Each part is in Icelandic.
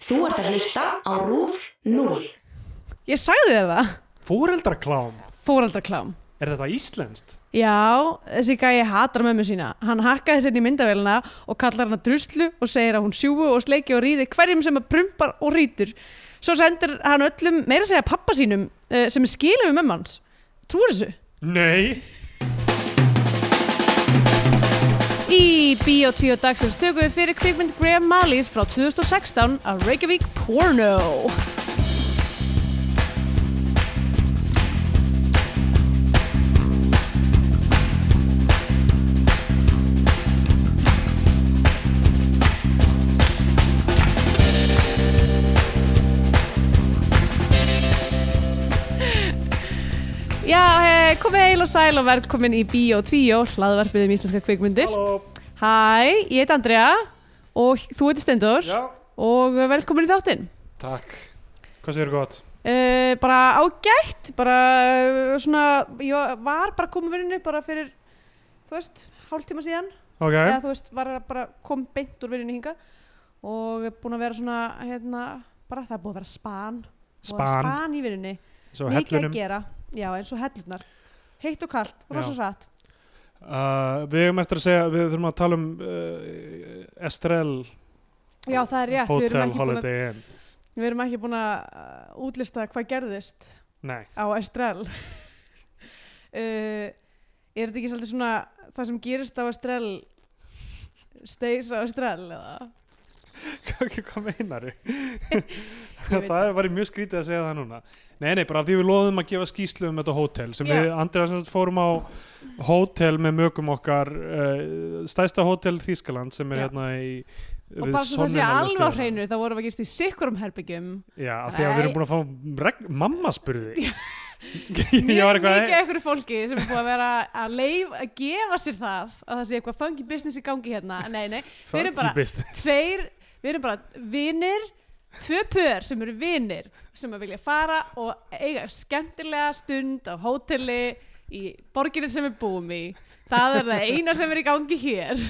Þú ert að hlusta á RÚF 0. Ég sagði þér það. Fóreldraklám, Fóraldarklám. er þetta íslenskt? Já, þessi gæi hatar mömmu sína. Hann hakkaði sér inn í myndavélina og kallar hana druslu og segir að hún sjúu og sleiki og ríði hverjum sem að prumpar og rítur. Svo sendir hann öllum, meira að segja pappa sínum, eh, sem er skilum við mömmu hans. Trúir þessu? Nei, Í Bíó 2 dagsins tökum við fyrir kvikmynd Graham Malís frá 2016 að Reykjavík Porno. Já, eh, komið heil og sæl og velkomin í Bíó 2, hlaðvarpið um íslenska kvikmyndir. halló, Hæ, ég heit Andrea og þú heitir Stendur já, og velkomin í þáttinn. takk. Hvað segir gott? Uh, bara ágætt, bara eh, svona, ég var bara komin vinnunni bara fyrir, þú veist, hálftíma síðan. Ok, Eða þú veist, var að bara kom beint úr vinnunni hinga og er búin að vera svona, hérna, bara það er búin að vera span. Búin að vera span, Span í vinnunni. svo Mikið að hellunum. gera, já eins og hellunar. Heitt og kalt, rosa Já. hratt. Uh, við hefum eftir að segja, við þurfum að tala um uh, Estrel Já, það er rétt, við erum Hotel ekki búin að, Holiday Inn. við erum ekki búin að uh, útlista hvað gerðist. Nei, á Estrell uh, er þetta ekki svolítið svona það sem gerist á Estrell stays á Estrell eða hvað meinaru? Ég veit það hefur verið mjög skrítið að segja það núna. Nei, nei, bara af því við loðum að gefa skýslu um þetta hótel sem Já. við, Andrea, sem sagt fórum á hótel með mögum okkar, uh, stæsta hótel Þískaland sem er Já. hérna í og við bara svo það sé sonnina við alveg á stöðina. hreinu þá vorum við gerst í sikkurum herbyggjum Já, af því að við erum Nei. búin að fá reg... mamma spurði mjög Ég var mikið eitthvað af einhverju fólki sem er búið að vera að, leif, að gefa sér það að það sé eitthvað funky business í gangi hérna nei, nei, við erum bara- best. tveir, við erum bara vinir tvö pör sem eru vinir sem að vilja fara og eiga skemmtilega stund á hóteli í borginni sem við búum í það er það eina sem er í gangi hér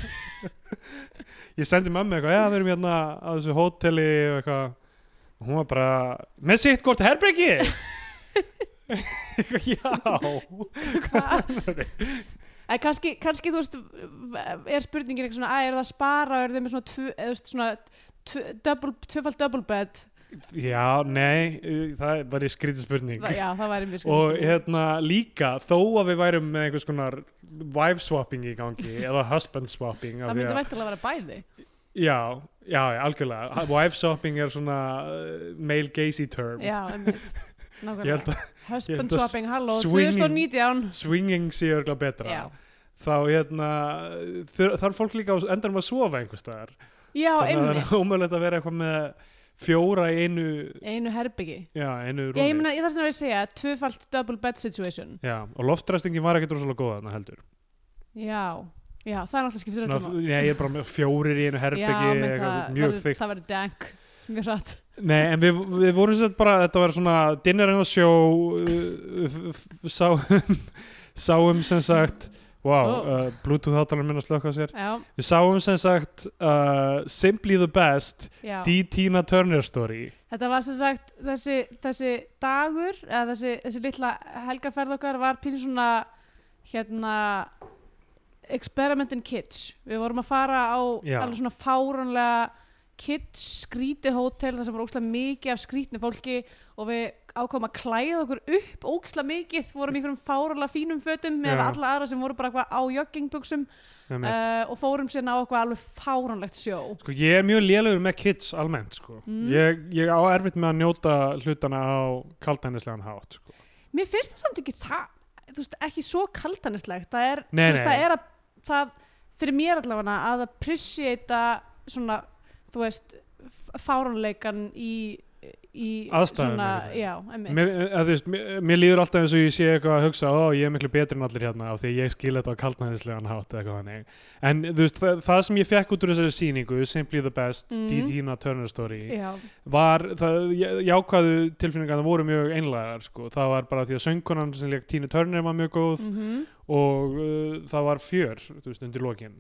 Ég sendi mömmu eitthvað, já, við erum hérna á þessu hóteli og eitthvað og hún var bara, með sitt hvort herbyggi Eitthvað, Já eða kannski, kannski þú veist er spurningin eitthvað svona að er það að spara og er þið með svona, tvö, eða, þú veist, svona tvö- double, tvöfald double bed Já, nei, eh, það var í skrítið spurning já það væri mjög og skrítið. hérna líka þó að við værum með einhvers konar wife swapping í gangi eða husband swapping það af því myndi að- væntanlega vera bæði Já, já, já, algjörlega wife swapping er svona eh, male gazy term já, einmitt Ég held nákvæmlega ég held husband að swapping, halló, swinging- 2019 swinging sé örgla betra Já. þá hérna þur- þarf fólk líka á endanum að sofa einhvers staðar já, að það einmitt er ómögulegt að vera eitthvað með fjóra í einu einu herbyggi já, einu Já, ég rúmi meina, ég þarf svona að segja, tvöfalt double bed situation. já, og loftræstingin var ekkert rosalega góða þarna heldur Já, já, það er náttúrulega skiptir Svona, öllum á. nei, ég er bara með fjórir í einu herbyggi menn eitthvað það- mjög það verður- þykkt Það verður dank, mjög hratt. nei, en við, við vorum sér bara þetta var svona dinner and a show uh, f- f- sáum sáum sem sagt Ó. wow, uh, bluetooth hátalar minna slökka sér Já, við sáum sem sagt uh, Simply the Best já. D. Tina Turner story Þetta var sem sagt, þessi, þessi dagur, eða þessi, þessi litla helgarferð okkar var pínu svona, hérna, experiment in kids. Við vorum að fara á Já. alveg svona fáranlega kids skríti hótel, þar sem var ókslega mikið af skrítni fólki og við ákváðum að klæða okkur upp ókslega mikið, vorum í einhverjum fáralega fínum fötum með Já. alla aðra sem voru bara eitthvað á joggingbuxum uh, uh, og fórum síðan á eitthvað alveg fáranlegt sjó. sko, ég er mjög lélegur með kids almennt sko. Mm. ég, ég á erfitt með að njóta hlutana á kaldænislegan hátt sko. Mér finnst það samt ekki það, þú veist, ekki svo kaltanislegt. Það er, Nei, þú veist, nei. það er að, það, fyrir mér allavega að appreciata svona, þú veist, f- fáránleikan í, í Aðstæðum, svona, einhvern veginn. já, einmitt. mér, eh, að, þú veist, mér, mér líður alltaf eins og ég sé eitthvað að hugsa ó, ég er miklu betri en allir hérna af því að ég skil þetta á kaldænislegan hátt eða eitthvað þannig. en þú veist, það, það sem ég fekk út úr þessari sýningu Simply the Best Mm. D. Tina Turner story já, var, það, já- jákvæðu tilfinningarna voru mjög einlægar sko. það var bara því að söngkonan sem leik Tina Turner var mjög góð mm og uh, það var fjör þú veist, undir lokin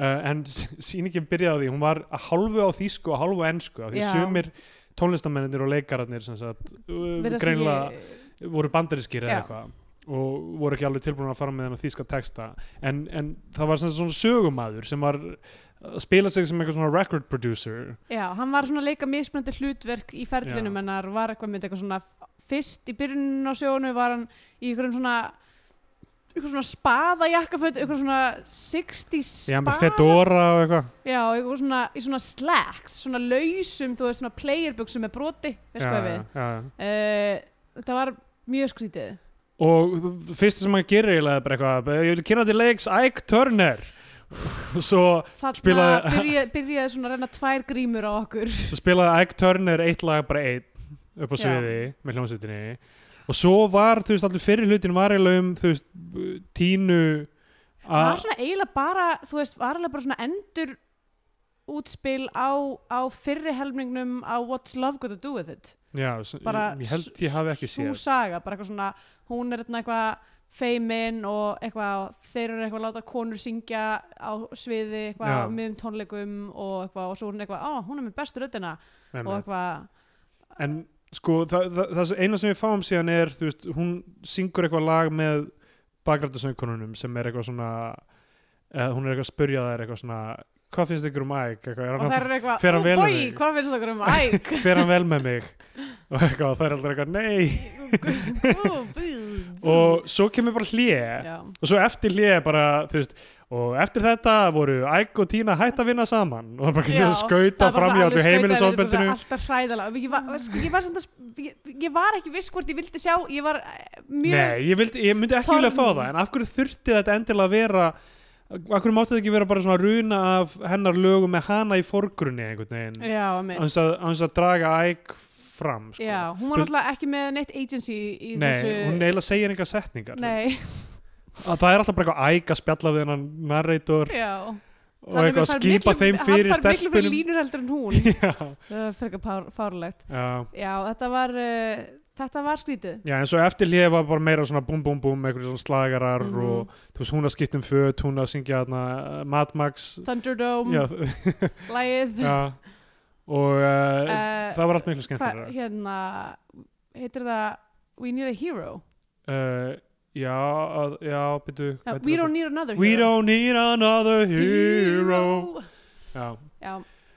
uh, en s- sýningin byrjaði á því, hún var að hálfu á þýsku og hálfu á ensku af því Já. sumir tónlistamennir og leikararnir sem sagt, uh, Virðast greinlega ekki- voru bandarískir eða Já. eitthvað og voru ekki alveg tilbúin að fara með þennan þýska texta en, en það var sem sagt svona sögumæður sem var að spila sig sem eitthvað svona record producer Já, hann var svona að leika mismunandi hlutverk í ferlinum Já. hennar, var eitthvað mynd eitthvað svona fyrst í byrjunum á sjónu var hann í einhverjum svona eitthvað svona spaðajakkaföt, eitthvað svona 60 Já, spaða með Fedora og eitthvað Já, eitthvað svona, í svona slacks svona lausum, þú veist svona playerbuxum með broti, veist Já, hvað við já, já. uh, Þetta var mjög skrítið og þú- fyrst sem hann gerir eiginlega er bara eitthvað ég vil kynna til leiks Ike Turner svo, Þarna Spilaði- byrja, byrjaði svona að renna tvær grímur á okkur svo spilaði Ike Turner eitt lag bara eitt upp á Já. sviði með hljómsveitinni og svo var þú veist allir fyrir hlutin var eiginlega um þú veist tínu var að svona eiginlega bara þú veist, var eiginlega bara svona endur útspil á, á fyrri helmingnum á What's Love Got To Do With It já, s- bara ég held ég hafi ekki séð sú saga, bara eitthvað svona hún er þarna eitthvað feimin og eitthvað, og þeir eru eitthvað að láta konur syngja á sviði eitthvað Já. á miðum tónleikum og eitthvað og svo er hún eitthvað, á, hún er með bestu röddina og Einmitt. eitthvað, en sko það, það, það sem- eina sem við fáum síðan er þú veist, hún syngur eitthvað lag með bakgrændasöngkonunum sem er eitthvað svona eða hún er eitthvað að spurja þær eitthvað svona hvað finnst ykkur um Æk eitthvað, er og hann, það að- er eitthvað fer hann vel "Ó, með boy, þig?" hvað finnst okkur um æg fer hann vel með mig og eitthvað, það er alltaf eitthvað nei og svo kemur bara hlje já, og svo eftir hlje bara þú veist og eftir þetta voru Æk og Tína hætt að vinna saman og það er bara Já, ekki að skauta það var fram í bara allir alveg skautað, þetta er bara heimilisofbeldinu alltaf hræðalega ég var, sko, ég, var samt að, sp- ég, ég var ekki viss hvort ég vildi sjá ég var eh, mjög Nei, ég, vildi, ég myndi ekki Torn- vilja fá það en af hverju þurfti þetta endilega að vera af hverju mátti þetta ekki vera bara svona runa af hennar lögum með hana í forgrunni einhvern veginn, já, einmitt. hans að, hans að draga æg fram sko. já, hún var Þú- náttúrulega ekki með neitt agency í Nei, þessu hún eiginlega segir enga setningar nei, að það er alltaf bara eitthvað æg að spjalla við hennan narrator já og eitthvað að skýpa þeim fyrir hann far miklu fyrir stelpunum línur heldur en hún já, það var frekar pár- fárlegt já. já, þetta var uh, þetta var skrítið já, en svo eftir hlið var bara meira svona búm búm búm, einhverjum svona slagarar Mhm. og þú veist hún að skipta um föt, hún að syngja hana, Mad Max Thunderdome, já, lagið Já, og uh, Eh, það var allt miklu hvað, skemmtilega. hérna heitir það We Need a Hero Uh, já, að- já, byrju. no, We Don't Need Another We Hero don't need another hero. Já, Já,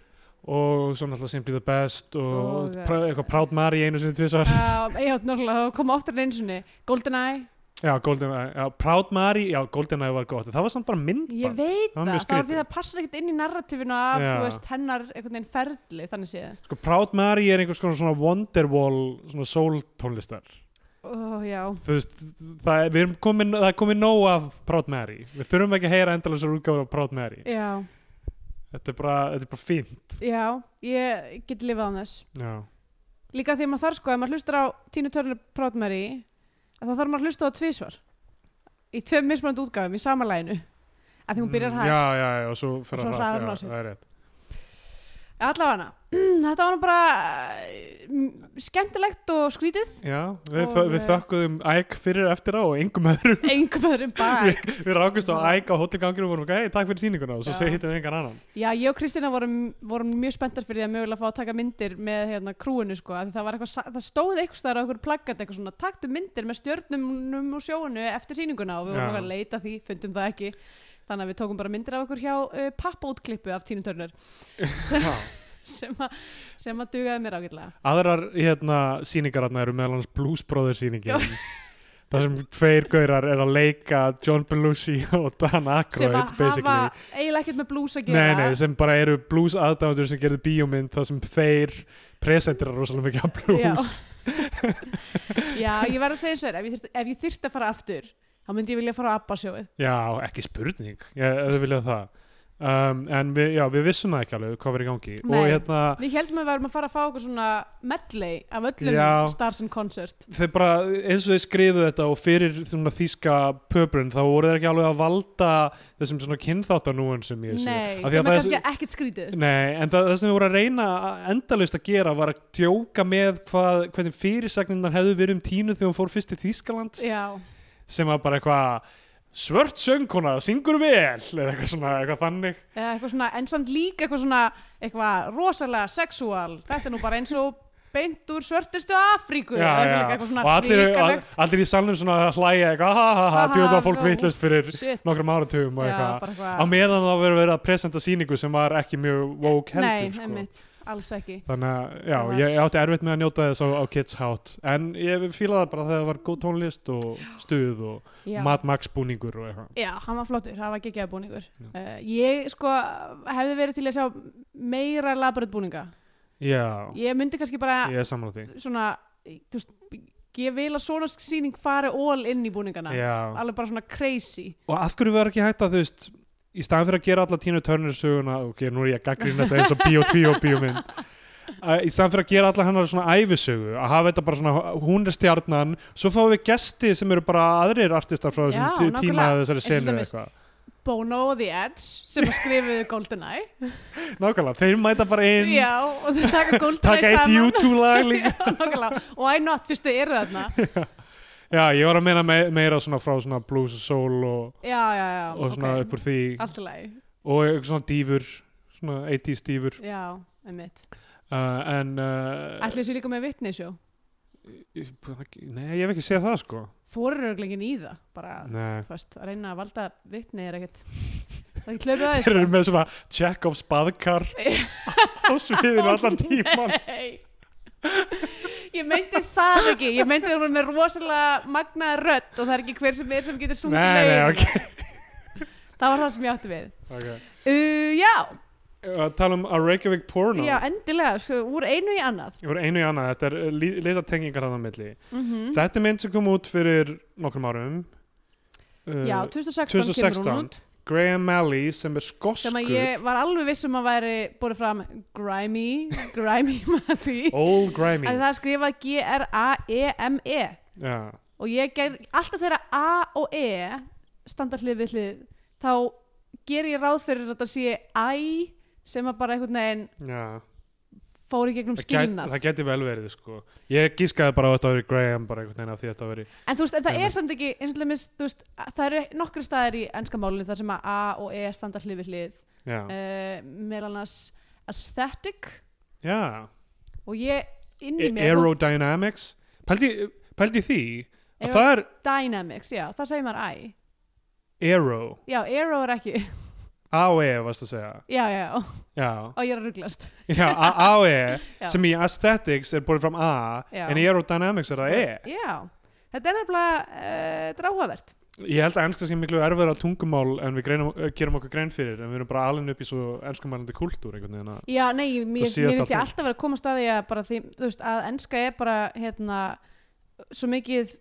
og svo náttúrulega Simply the Best og Og, eh, prá, eitthvað Proud Mary einu sinni tvisar. uh, já, náttúrulega, það kom oftar en einu sinni GoldenEye, Já, GoldenEye, já, Proud Mary, já, GoldenEye var gott. Það var samt bara myndband. ég veit það var það, mjög það var því skrítið. það passar ekkert inn í narratífinu af, Já. þú veist, hennar einhvern veginn ferli, þannig séð Sko, Proud Mary er einhvers konar svona Wonderwall, svona soul tónlistar. Ó, já, Þú veist, það, er- við erum komin, það er komin nóg af Proud Mary. Við þurfum ekki að heyra endalusar útgáður af Proud Mary. já, Þetta er bara, þetta er bara fínt. já ég get lifað án þess Já. Líka því að maður þarf sko, ef maður hlustar á Tínu Törnur Prátmæri þá þarf maður að hlusta á það tvísvar í tveim mismunandi útgáfum, í sama læginu að því hún byrjar hægt Mm. Já, já, já, og svo Og fer svo hann hraðar hún á hratt. Já, sig. það er rétt. Allavega þetta var nú bara mm, skemmtilegt og skrítið Já, við, Og, og, við eh, þökkuðum æg fyrir eftir á og yngum öðrum. engum öðrum bak við rákumst á æg á hótelganginu og vorum ekki, hei, takk fyrir sýninguna og svo Já. segið hittum við engan annan. Já, ég og Kristina vorum, vorum mjög spenntar fyrir því að mögulega fá að taka myndir með hérna, krúinu sko, af því það, var eitthvað, sa- það stóð eitthvað staðar á okkur plaggat eitthvað svona, taktu myndir með stjörnum og sjónu eftir sýninguna og við vorum Já. eitthvað að leita að því, fundum það ekki þannig að við tókum bara myndir af okkur hjá uh, pappaútklippu af Tínu Törnur sem, Já. sem, að- sem að dugaði mér ágætlega Aðrar, hérna, sýningar þarna eru meðal hans Blues Brothers sýningin. Það sem tveir gaurar er að leika John Belushi og Dan sem að Aykroyd, hafa basically. eiginlega ekkert með blús að Nei, gera nei, sem bara eru blues aðdáðundur sem gerðu bíómynd þar sem þeir presentirar rosalega mikið af blues. Já, ég var að segja eins og þér, ef ég þyrfti- ef ég þyrfti að fara aftur þá myndi ég vilja fara á Abba sjóið Já, ekki spurning, ég hefði viljað það um, En við, já, við vissum það ekki alveg hvað var í gangi Og Nei. hérna, Við heldum að við varum að fara að fá okkur svona medley af öllum Já. Stars and Concert. þeir bara eins og þeir skriðu þetta og fyrir svona þýska pöbrun þá voru þeir ekki alveg að valda þessum svona kynþáttanúan sem ég Nei, Af sem því að er það kannski ekkert skrítið. Nei, en það, það sem við voru að reyna að- endalaust að gera var að djóka með hvað, hvernig fyrirsagninnar hefðu verið um tínu þegar hún fór fyrst til Þýskalands Já, sem var bara eitthvað svört söngkona, syngur vel eða eitthvað svona, eitthvað þannig eða eitthvað svona, en samt líka eitthvað svona eitthvað rosalega sexual þetta er nú bara eins og beint úr svörtustu Afríku já, eða já, líka eitthvað svona og allir, all, hrikalegt. allir í salnum svona að hlæja eitthvað, ha ha ha, Ha, ha, djóða fólk ha, vitlust fyrir Shit. nokkrum áratugum og Já, eitthvað bara eitthvað- á meðan það verið verið að presenta síningu sem var ekki mjög woke Nei, heldur sko. einmitt, alls ekki þannig að, já, Það var- ég átti erfitt með að njóta þess á, á Kids Hátt, en ég fílaði það bara þegar það var góð tónlist og stuð og já. Mad Max búningur og eitthvað já, hann var flottur, það var geggjaði búningur Já. uh, ég sko hefði verið til að sjá meira labröð búninga já, ég myndi kannski bara ég er sammála því svona, þú veist ég vil að svona sýning fari all inn í búningana já, alveg bara svona crazy og af hverju var ekki hægt að þú veist í staðan fyrir að gera alla tínu törnir söguna ok, nú er ég að gaggrina þetta eins og bíó 2 og bíó mynd í staðan fyrir að gera alla hennar svona æfisögu að hafa þetta bara svona, hún er stjarnan svo fáum við gesti sem eru bara aðrir artistar frá Já, þessum tí- tíma nákvæmlega. eða þessari Eins og senu til eða dæmis- eitthvað Bono og The Edge sem að skrifuðu GoldenEye nákvæmlega, þeir mæta bara inn já, og þau taka taka GoldenEye eitt saman YouTube lag líka Já, nákvæmlega. og why not, fyrstu eru þarna já, ég var að meina me meira svona frá svona blues og soul og, já, já, já, og svona upp úr því allt í lagi, og eitthvað svona dýfur svona 80s dýfur já, einmitt uh, en uh, ætli þessu líka með vitnisjó Ég- Nei, ég hef ekki séð það sko þorir örglingin í það bara, Nei. þú veist, að reyna að valda vitni er ekkert það er ekki hlaupið aðeins Þeir eru með svona Chekhovs baðkar á sviðinu allan tíman Nei. Ég meinti það ekki, ég meinti að hún er með rosalega magnaða rödd og það er ekki hver sem er sem getur sungið Nei, nei, lögin. ok, Það var það sem ég átti við. okay. Uh, já, Að tala um að Reykjavík porno já, endilega, sko, úr einu í annað. Ég voru einu í annað, þetta er uh, lita tengingar hann á milli Mm Þetta er mynd sem kom út fyrir nokkrum árum uh, já, 2016, kemur hún 2016 út Graham Alley sem er skoskur sem að ég var alveg viss um að væri búið fram grimy, grimy með því. Old Grimy Að það er skrifað E G-R-A-E-M-E Já, og ég ger alltaf þegar A og E standa hlið við hlið þá ger ég ráð fyrir að þetta sé æ sem að bara einhvern veginn já Um fór í gegnum Það gæti, skilnað það gæti vel verið sko Ég gískaði bara á þetta að vera Graham bara einhvern veginn af því að þetta veri en þú veist, en það Einmitt. er samt ekki eins og til dæmis, þú veist, að- það eru nokkru staðar í ennska málinu þar sem að A og E standa hlið við hlið Já, uh, meðal annars aesthetic já og ég inn í A- mér E- Aerodynamics pældi, pældi því að Aero- það er dynamics, já, það segir maður æ aero já, aero er ekki, AOE varst að segja já, já, og já, ég er að rugglast já A- AOE Já. sem í aesthetics er borðið fram A Já. en í aerodynamics er það E Já, þetta er nefnilega uh, dráhugavert. ég held að ennska sé miklu erfiðar að tungumál en við greinum, eh, gerum okkur grein fyrir en við erum bara alveg upp í svo enskumælandi kultúr einhvern veginn að Já, nei, mér, síðasta mér finnst ég til. alltaf vera að komast að því að bara því, þú veist, að enska er bara, hérna, svo mikið,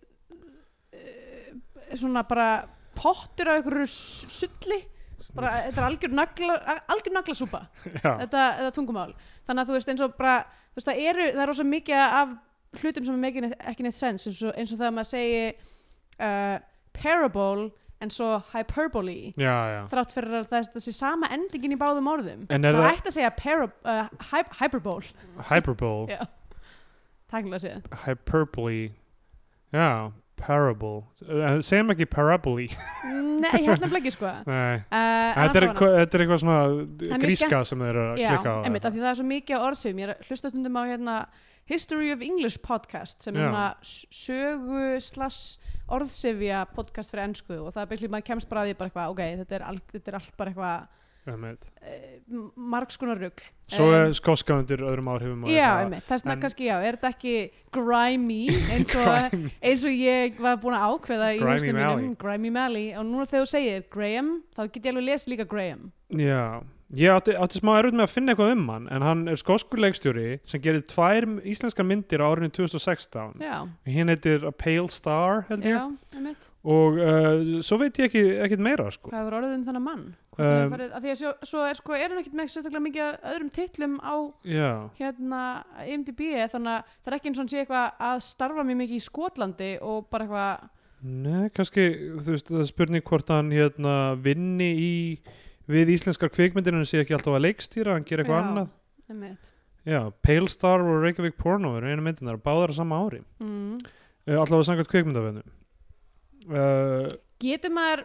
uh, svona bara pottur á einhverju s- sulli, bara, þetta er algjör, nagla, algjör naglasúpa, já, þetta, þetta tungumál. Þannig að þú veist, eins og bara, þú veist, það eru, það er rosa mikið af hlutum sem er mikið neitt- ekki neitt sens, eins og, eins og það að maður segi uh, parable en svo hyperbole. já, já. þrátt fyrir að þetta sé sama endingin í báðum orðum En er það það- ætti að segja para, uh, hy- hyperbole hyperbole, Já. tæknilega séð hyperbole já, parable Eh, segjum ekki parabole nei, ég held nefnilega ekki sko uh, nei Þetta er, þetta eitthvað- þetta er eitthvað svona er mjög gríska sem þeir eru að já, klikka á einmitt, af því það er svo mikið á orðsum ég er að hlusta stundum á hérna History of English podcast sem er Já. svona s- sögu slass orðsifja podcast fyrir ennsku og það er bygglið maður kemst bara að því bara eitthvað, ok, þetta er, all, þetta er allt bara eitthvað Einmitt. uh, margskonar rugl Svo Um, er skoska undir öðrum áhrifum og Já, eitthvað. einmitt, þess vegna en- kannski, já, er þetta ekki grimy eins og, Grimy. eins og ég var búin að ákveða í Grimy húsnum Mally. mínum, grimy Mally og núna þegar þú segir Graham, þá get ég alveg lesið líka Graham Já, ég átti, átti smá erfitt með að finna eitthvað um hann en hann er skoskur leikstjóri sem gerir tvær íslenskar myndir á árinu 2016 Já, hinn heitir A Pale Star held ég já, einmitt og uh, svo veit ég ekki, ekkit meira sko. Hvað hefur orðið um þennan mann? Um, Um, farið, að því að sjó, svo er, sko, er hann ekkit með sérstaklega mikið af öðrum titlum á Já, hérna IMDb E, þannig að það er ekki eins og hann sé eitthvað að starfa mjög mikið í Skotlandi og bara eitthvað Nei, kannski þú veist, það er spurning hvort hann hérna, vinni í við íslenskar kvikmyndir en hann sé ekki alltaf að leikstýra hann gerir eitthvað Já, annað einmitt. Já, Pale Star og Reykjavík Porno eru einu myndinar, báðar á sama ári Eh, Mm. uh, allavega samkvæmt kvikmyndafennu uh, Getur maður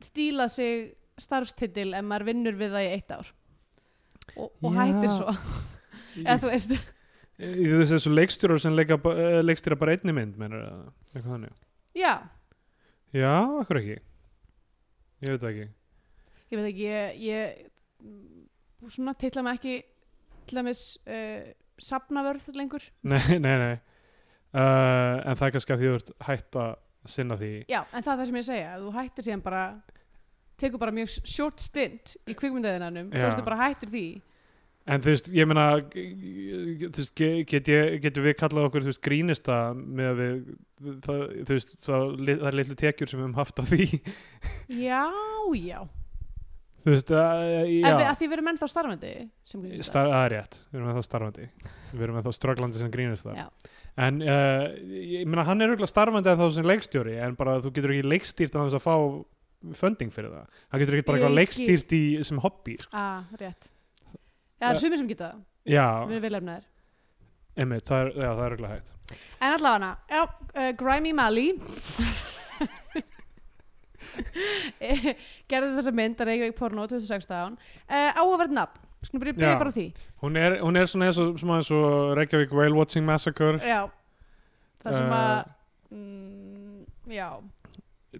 stíla sig starfstitil ef maður vinnur við það í eitt ár og, og Já. hættir svo eða þú veist, Í þessu þessu leikstjórar sem leika, ba- eh, leikstýra bara einni mynd, meinar það? Eitthvað þannig. já Já, akkur ekki. Ég veit það ekki. ég veit ekki, ég, ég mm, svona titla mig ekki til dæmis uh, safnavörð lengur Nei, nei, nei. Uh, en það er kannski að því þú ert hætt að sinna því. já, en það er það sem ég er að segja, ef þú hættir síðan bara tekur bara mjög short stint í kvikmyndaðinanum, Já. svo ertu bara hættur því En þú veist, ég meina, g- g- þú veist, ge- get ég, getum við kallað okkur, þú veist, grínista með að við, það, þú veist, það, það er litlu tekjur sem við höfum haft af því. já, já, þú veist, uh, en við, já, að því við erum ennþá starfandi sem grínist Star- það er rétt, við erum eða starfandi, við erum eða strögglandi sem grínista. Já. En uh, ég meina, hann er auðvitað starfandi en þá sem leikstjóri, en bara þú getur ekki leikstýrt að þess að fá funding fyrir það. Hann getur ekki bara Ég eitthvað skil. leikstýrt í, sem hobby. sko. Ah, rétt. Já, það er Ja. sumir sem geta það, Já, við erum vel efnaðir. einmitt, það er, já, það er auðvitað hægt. En allavega já, uh, Grimy Mally Eh, gerði þessa mynd að Reykjavík porno 2016 uh, áhverð nafn, skulum byrja, byrja Já. bara á því Hún er, hún er svona eins og, svona eins og Reykjavík Whale Watching Massacre Já, það sem Eh. að mm, já,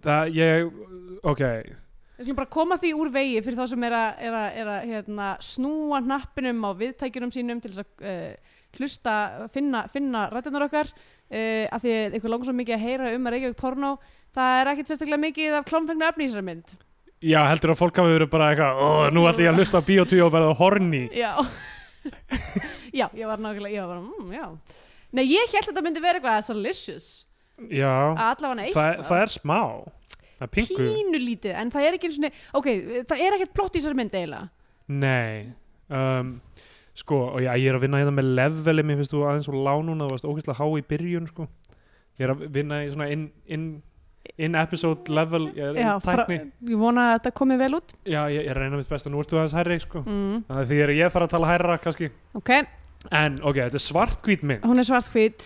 Það, ég, ok við skulum bara koma því úr vegi fyrir þá sem er að, er að, er að hérna, snúa hnappinum á viðtækjunum sínum til þess að uh, hlusta, finna, finna rættunar okkar uh, af því að ykkur langar svo mikið að heyra um að Reykjavík porno það er ekkit sérstaklega mikið af klámfengna efni í þessari mynd Já, heldur að fólk hafi verið bara eitthvað Ó, nú ætla ég að hlusta á Bíotvíu og verða horni Já Já, ég var nákvæmlega, ég var bara, mm, já Nei, ég held að þetta myndi vera eitthvað salicious Já, Allavega neitt það, það er smá Það er pingu Pínulítið, en það er ekki einu svona Ok, það er ekkert plott í þessari mynd eiginlega Nei um, Sko, og já, ég er að vinna hérna með leveli Mér finnst þú aðeins og lánuna Það varst ógeðslega há í byrjun, sko Ég er að vinna í svona in, in, in episode level Ég er Já, fra- tækni Ég vona að þetta komi vel út Já, ég, ég reyna mitt besta, nú ertu aðeins hærri, sko mm, Það er því að ég þarf að tala hærra, kannski Ok, En, ok, þetta er svartkvít mynd hún er svartkvít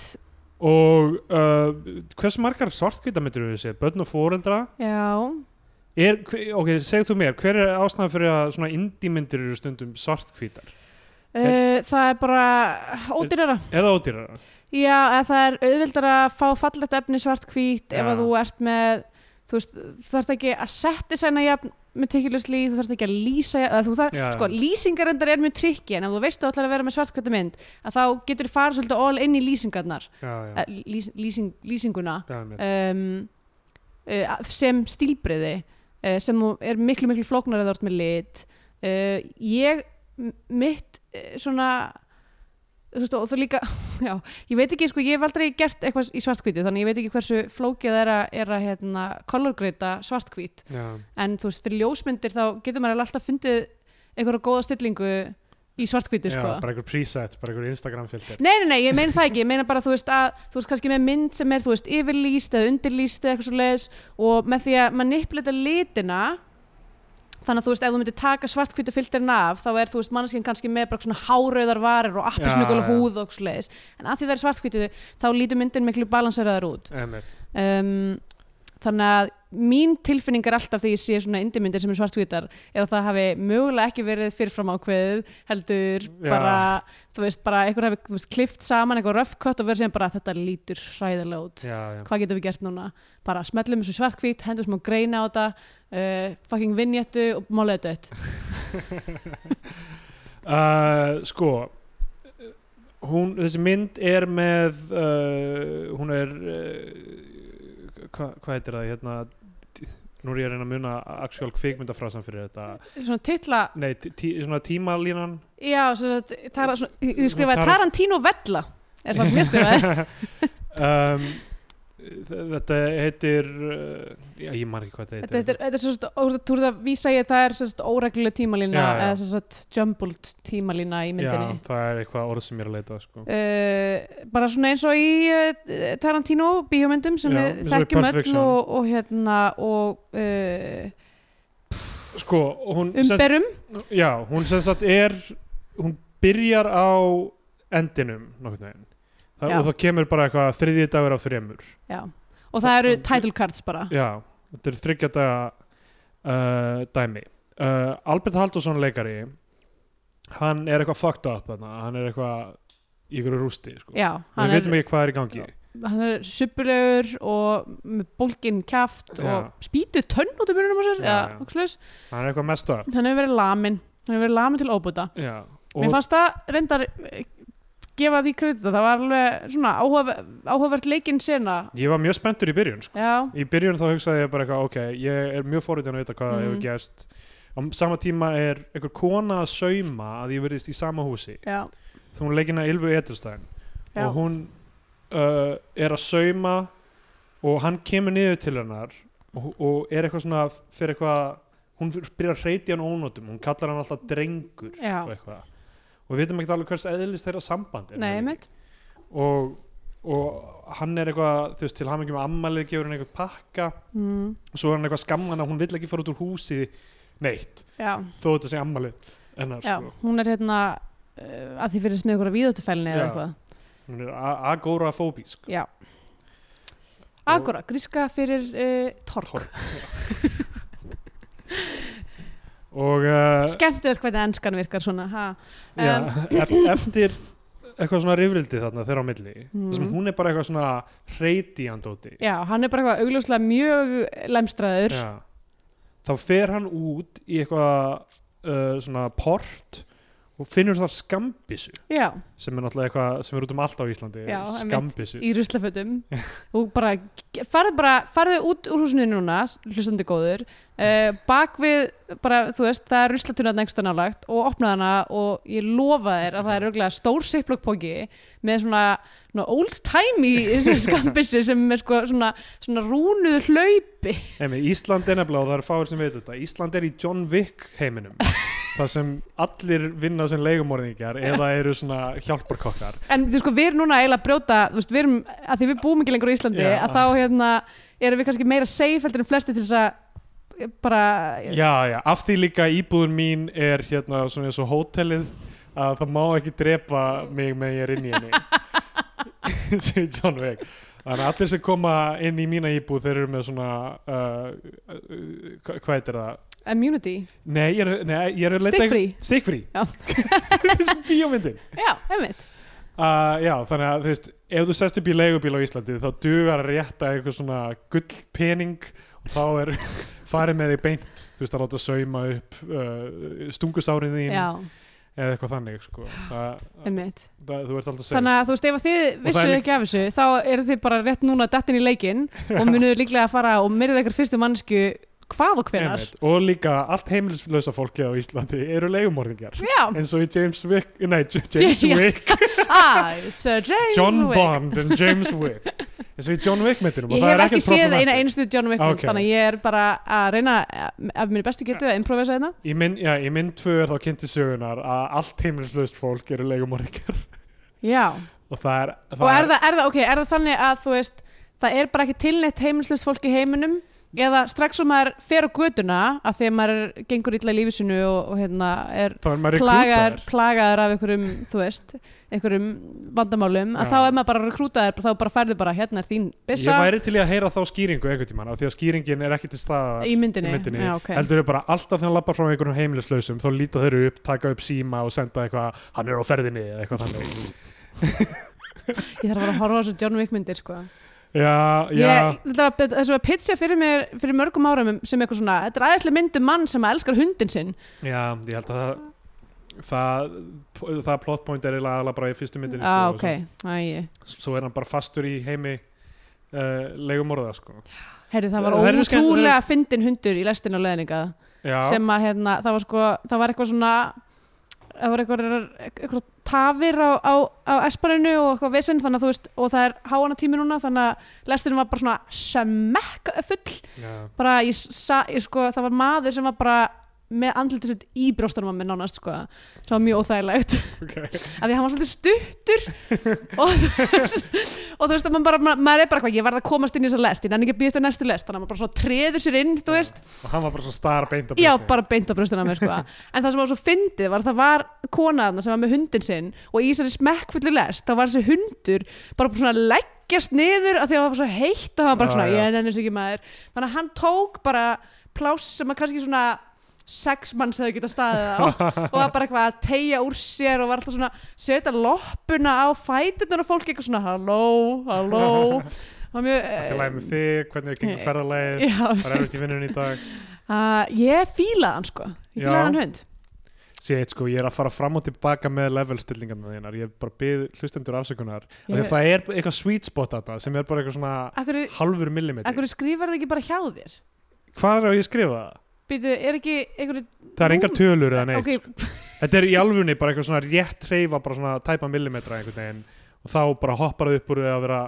Og uh, hversu margar svartkvítamyndir eru þessi? Börn og fóreldra? Já, Er, hve- ok, segðu þú mér, hver er ástæðan fyrir að svona indímyndir eru stundum svartkvítar? Eh. uh, það er bara ódýrara Eða ódýrara? Já, eða það er auðvildar að fá fallegt efni svartkvít ef Já. að þú ert með þú veist, þú þarft ekki að setja sæna jafn meticulously, þú þarft ekki að lýsa eða þú þarft, Já. sko, lýsingarendar er mjög trikki en ef þú veist að þú ætlar að vera með svartkvæta mynd að þá getur þú farið svolítið all inn í lýsingarnar Já, já, eh, lýs, lýsing, lýsinguna já, mér. um, uh, sem stílbreyði uh, sem þú er miklu miklu flóknar eða orð með lit uh, ég m- mitt uh, svona þú veist og þú líka já, ég veit ekki sko, ég hef aldrei gert eitthvað í svartkvítu þannig ég veit ekki hversu flókið er að, er að hérna, kolorgreita svartkvít Já, en þú veist fyrir ljósmyndir þá getur maður alveg alltaf fundið einhverja góða stillingu í svartkvítu já sko bara einhver preset, bara einhver Instagram filter. Nei, nei, nei, ég meina það ekki, ég meina bara þú veist að þú veist kannski með mynd sem er, þú veist, yfirlýst eða undirlýst eða eitthvað svo leiðis og með því að manipulita litina þannig að þú veist, ef þú myndir taka svartkvítu filterin af, þá er þú veist manneskinn kannski með bara svona hárauðar varir og appisnugul Já, já. húð og svo leiðis en að því það er svartkvítu, þá lítur myndin miklu balanseraðar út Emmett. um, þannig að mín tilfinning er alltaf þegar ég sé svona indimyndir sem er svartkvítar er að það hafi mögulega ekki verið fyrirfram ákveðið heldur Já. bara, þú veist, bara einhver hafi þú veist, klift saman eitthvað röfkött og verið sem bara þetta lítur hræðilega út Já, já. hvað getum við gert núna? Bara smellum þessu svartkvít, hendum smá greina á þetta uh, fucking vinjettu og málið þetta dött Uh, sko, hún, þessi mynd er með, uh, hún er, uh, hva, hvað heitir það, hérna, nú er ég að reyna að muna actual kvikmyndafrasan fyrir þetta. svona titla, Nei, tí, tí- svona tímalínan já, sem sagt, tara, svona, ég Tar- skrifaði Tarantino Vella er það sem ég skrifaði um, þ- Þetta heitir uh, Já, ég man ekki hvað þetta heitir Þetta, þetta er, þetta er svo sagt, ó, þú ert að vísa ég að það er svo sagt óregluleg tímalína Já, já. eða svo sagt jumbled tímalína í myndinni. Já, það er eitthvað orð sem ég er að leita að, sko. Uh, bara svona eins og í uh, Tarantino bíómyndum sem Já, við eins og í þekkjum Pulp öll Fiction. og, og hérna og uh, Sko, hún sem, umberum sagt- Já, hún sem sagt er hún byrjar á endinum nokkurn veginn Þa, Já. og það kemur bara eitthvað þriðji dagur af þremur já. og það eru title cards bara Já, þetta er þryggja daga uh, dæmi uh, Albert Haldursson leikari hann er eitthvað fucked up þarna. hann er eitthvað í ykkur rústi sko. já, við hann er, veitum ekki hvað er í gangi hann er suppulegur og með bólgin kjaft Já. og spýtið tönn út í mununum á sér Já, já, já. já. hann er eitthvað messed up hann hefur verið lamin hann hefur verið lamin til óbúta já. mér og fannst það reyndar eh, gefa því kredita, það var alveg svona áhugaver, áhugavert leikinn sena ég var mjög spenntur í byrjun sko. já, í byrjun þá hugsaði ég bara eitthvað ok, ég er mjög fórhundin að vita hvað Mhm. hefur gerst á sama tíma er einhver kona að sauma að ég verðist í sama húsi já, þú hún leikina Ylfu Edelstein já, og hún uh, er að sauma og hann kemur niður til hennar og, og er eitthvað svona fyrir eitthvað hún fyrir- byrjar að hreiti hann ónótum hún kallar hann alltaf drengur Já. og eitthvað og við veitum ekkert alveg hvers eðlis þeirra samband er nei, það ekki? mitt og, og hann er eitthvað þú veist til hamingjum ammalið gefur hann eitthvað pakka mm, og svo er hann eitthvað skamman að hún vill ekki fara út úr húsi neitt, já, þó þetta sé ammalið hennar já, sko, hún er hérna uh, að því fyrir sem ykkur að víðóttufælni eða Já. eitthvað hún er a- agorafóbísk já, Og- agora, gríska fyrir uh, tork, Tork. og uh, skemmtilegt hvernig enskan virkar svona, ha já, um, eft- eftir eitthvað svona rifrildi þarna þeirra á milli Mm. þessum hún er bara eitthvað svona hreiti andóti já, hann er bara eitthvað augljóslega mjög lemstraður Já. þá fer hann út í eitthvað uh, svona port og finnur þar skambissu já, sem er náttúrulega eitthvað sem er út um allt á Íslandi Já, einmitt. skambissu í ruslafötum og bara farðu bara farðu út úr húsinu núna, hlustandi góður uh, bak við bara, þú veist, það er ruslatunat nexta nálagt og opnaði hana og ég lofa þér að það er örgulega stór sittblokkpóki með svona, svona old timey skambissu sem er sko svona, svona rúnuð hlaupi Emi, Ísland er nefnilega og það eru fáir sem veit þetta Ísland er í John Wick heiminum þar sem allir vinna sem leigumorðingar eða eru svona hjálparkokkar en þú sko, við erum núna eiginlega að brjóta þú veist, við erum, að því við búum ekki lengur á Íslandi Já. að þá hérna, erum við kannski meira safe heldur en flesti til þess að eh, bara, Já, já, af því líka íbúðun mín er hérna svona eins og hótelið að það má ekki drepa mig með ég er inn í henni segir John Wick þannig að allir sem koma inn í mína íbúð þeir eru með svona uh, uh, uh, hva- hvað heitir það? immunity Nei, ég er, nei, ég er að leita- stikkfrí Stikkfrí Já. Þessum bíómyndin Já, einmitt. Uh, já, þannig að þú veist, ef þú sest upp í leigubíl á Íslandi þá dugar að rétta eitthvað svona gullpening og þá er farið með því beint, þú veist, að láta sauma upp uh, stungusárið þín Já, eða eitthvað þannig, sko. Það, einmitt. það, þú ert alltaf að segja. Þannig að þú veist, ef að þið það vissu er líka- ekki af þessu, þá eru þið bara rétt núna dattin í leikinn og munuðu líklega að fara og myrðið eitthvað fyrstu mannsku hvað og hvenar. Einmitt. Og líka allt heimilislösa fólkið á Íslandi eru leigumorðingar. Já, Eins og í James Wick, nei, J- James Já. Wick, ah, Sir James John Wick. Bond and James Wick. Eins og í John Wick myndinum og Ég það hef er ekki ekkert séð eina problematic. einstu John Wick mynd, Ok. þannig að ég er bara að reyna að- af minni bestu getu að improvisa hérna. þetta. Í mynd, já, í mynd tvö er þá kynnti sögunar að allt heimilislaust fólk eru leigumorðingar Já, og það er, það og er það, er það, ok, er það þannig að þú veist, það er bara ekki tilneitt heimilslust fólk í heiminum eða strax sem maður fer á göduna að þegar maður er- gengur illa í lífisinu og, og hérna er þá er maður plagar, rekrútaður. plagaður af einhverjum, þú veist, einhverjum vandamálum, Já. að þá er maður bara rekrútaður, þá bara færðu bara hérna er þín byssa Ég væri til í að heyra þá skýringu einhvern tímann af því að skýringin er ekki til staðar í myndinni. Já, ok. heldur þau bara alltaf þegar hann lappar frá einhverjum heimilislausum þá líta þeir upp, taka upp síma og senda eitthvað hann er á ferðinni eða eitthvað þannig Ég þarf bara að horfa á þessu John Wick myndir, sko. Já, já, Ég, þetta var, þessu var pitcha fyrir mér fyrir mörgum árum sem eitthvað svona, þetta er aðeinslega myndum mann sem elskar hundin sinn. já, ég held að það það, það plotpoint er eiginlega aðallega bara í fyrstu myndinni ah, sko, og ok, æg. svo, svo er hann bara fastur í heimi uh, legumorða sko. Herri, það var Það eru skemmt- ótrúlega fyndin hundur í lestin á leðningað Já, sem að hérna, það var sko, það var eitthvað svona það var eitthvað, eitthvað tafir á, á, á espaninu og eitthvað vesinn þannig að þú veist, og það er háana tími núna þannig að lesturinn var bara svona semekk full, já. bara ég, sa, ég sko, það var maður sem var bara með andlitið sitt í brjóstunum að minn nánast sko, það var mjög óþægilegt Okay. af því að hann var svolítið stuttur og, þú veist- og þú veist að maður bara, ma- maður er bara eitthvað, ég verð að komast inn í þessa lest ég nenni ekki að býja eftir næstu lest, þannig að maður bara svona treður sér inn, þú veist, og hann var bara svona star beint á Já, brjósti. bara beint á brjóstina á mér sko En það sem var svo fyndið var að það var kona þarna sem var með hundin sinn og í þessari smekkfullu lest þá var þessi hundur bara svona að leggjast niður af því að það var svo heitt og hann var bara Já, svona, já. ég nenni þessu ekki maður Þannig að hann tók bara pláss sem að kannski svona sex manns hefði geta staðið á og var bara eitthvað að tegja úr sér og var alltaf svona setja loppuna á fætunar og fólk eitthvað svona halló, halló Það var mjög Allt í lagi með þig, hvernig gengur eh, ferðalagið Já, Það er erfitt í vinnunni í dag uh, ég fílaði hann sko ég Já. fílaði hann hund Sétt sko, ég er að fara fram og tilbaka með levelstillingarna þínar Ég er bara byð hlustendur afsökunar ég... Ég- Þegar það er eitthvað sweet spot þarna sem er bara eitthvað svona Akkur, halfur millimetri akkur skrifar það ekki bara hjá þér Hvað er á ég að skrifa? Býtu, er ekki einhverju Það er engar tölur eða neitt Ok, Þetta er í alfunni bara eitthvað svona rétt hreyfa bara svona tæpa millimetra einhvern veginn og þá bara hoppar það upp úr því að vera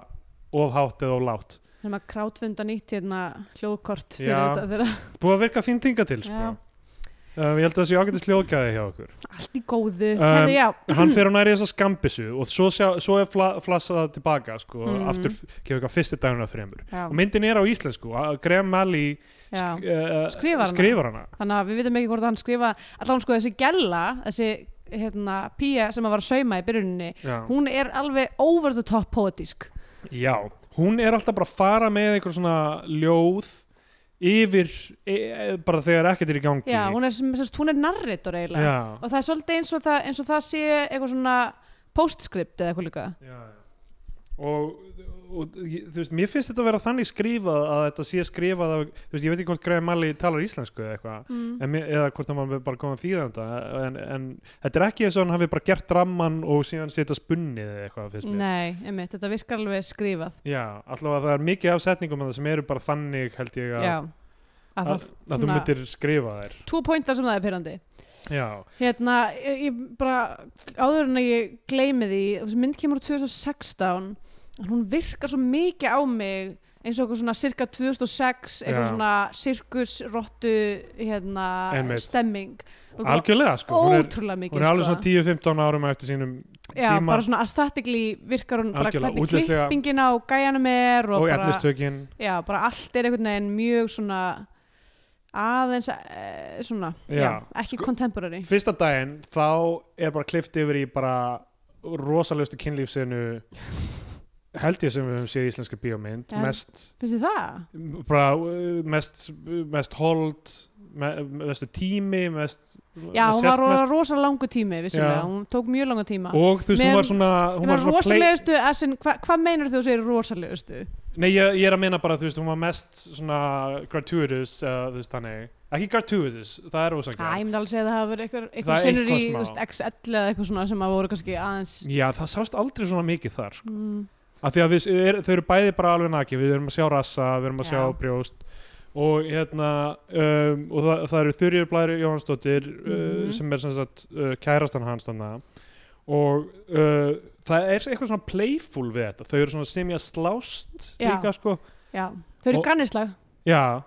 ofhátt eða oflátt. sem að krátfunda nýtt hérna hljóðkort fyrir Já. þetta þeirra Búið að virka þín tinga til sko. Já. Um, ég held að það sé ágætist ljóðgæði hjá okkur. allt í góðu, Um, um, hérna já Hann fer á næri þessa skambissu og svo, sjá, svo er fla, flassa það tilbaka sko, Mhm. aftur kemur eitthvað fyrsti daginn af þremur. já, Og myndin er á íslensku, að Graham Malley já. sk uh, Skrifar hana. skrifar hana. þannig að við vitum ekki hvort hann skrifa allan sko þessi gella, þessi hérna pía sem að var að sauma í byrjuninni Já. hún er alveg over the top poetísk Já, hún er alltaf bara að fara með einhver svona ljóð yfir, e, e, bara þegar ekkert er í gangi. já, hún er, sem, sem, sagt, hún er narrator eiginlega Já. og það er svolítið eins og það, eins og það sé eitthvað svona postscript eða eitthvað líka já, já. Og, og ég- þú veist, mér finnst þetta að vera þannig skrifað að þetta sé skrifað af, þú veist, ég veit ekki hvort Graham Malley talar íslensku eða eitthvað mm. en mér- eða hvort hann var bara komið þýðanda en, en þetta er ekki eins og hann hafi bara gert ramman og síðan setja spunnið eða eitthvað finnst mér. nei, einmitt, þetta virkar alveg skrifað Já, allavega það er mikið af setningum þarna sem eru bara þannig held ég að, já, að að, að, það þú svona- myndir skrifa þær tvo pointar sem það er pyrrandi Já, Hérna, ég, ég bara áður en að ég gleymi því þessi mynd kemur úr 2016 en hún virkar svo mikið á mig eins og eitthvað svona cirka 2006 eitthvað Já. svona sirkusrottu hérna, Einmitt. stemming Og bara algjörlega sko hún er, ótrúlega mikið hún er alveg sko. svona 10-15 árum eftir sínum Já, tíma bara svona aesthetically virkar hún bara Algjörlega, hvernig útlitslega- klippingin á gæjanum er og, og bara, efnistökin já, bara allt er einhvern veginn mjög svona aðeins eh, svona, já, Já. sko- ekki contemporary fyrsta daginn þá er bara klift yfir í bara rosalustu kynlífsinu held ég sem við höfum séð í íslenska bíómynd Já. mest, finnst þið það? bara, uh, mest mest hold me, mestu tími mest, Já, það hún var sést rosa, rosa langu tími Já. vissulega, hún tók mjög langa tíma og þú veist, Men- hún var svona Hún hún var svona play, rosalegustu, asin, hva, hvað meinar þú að segja rosalegustu? nei, ég, ég er að meina bara, þú veist, hún var mest svona gratuitous, uh, þú veist, þannig ekki gratuitous, það er Æ, ósangjart ég myndi alveg segja að það hafa verið eitthvað, Það eitthvað er sinnur í eitthvað smá. þú veist, X11 eða eitthvað svona sem að voru kannski aðeins já, það sást aldrei svona mikið þar sko. mm, af því að við, er, þau eru bæði bara alveg nakin við erum að sjá rassa, við erum að Já. sjá brjóst og hérna um, og það, það eru Þurriður Blæri Jóhansdóttir Mhm. uh, sem er sem sagt uh, kærastan hans þarna og uh, það er eitthvað svona playful við þetta, þau eru svona sem ég að slást Já. líka sko Já, þau eru Og- gannislag já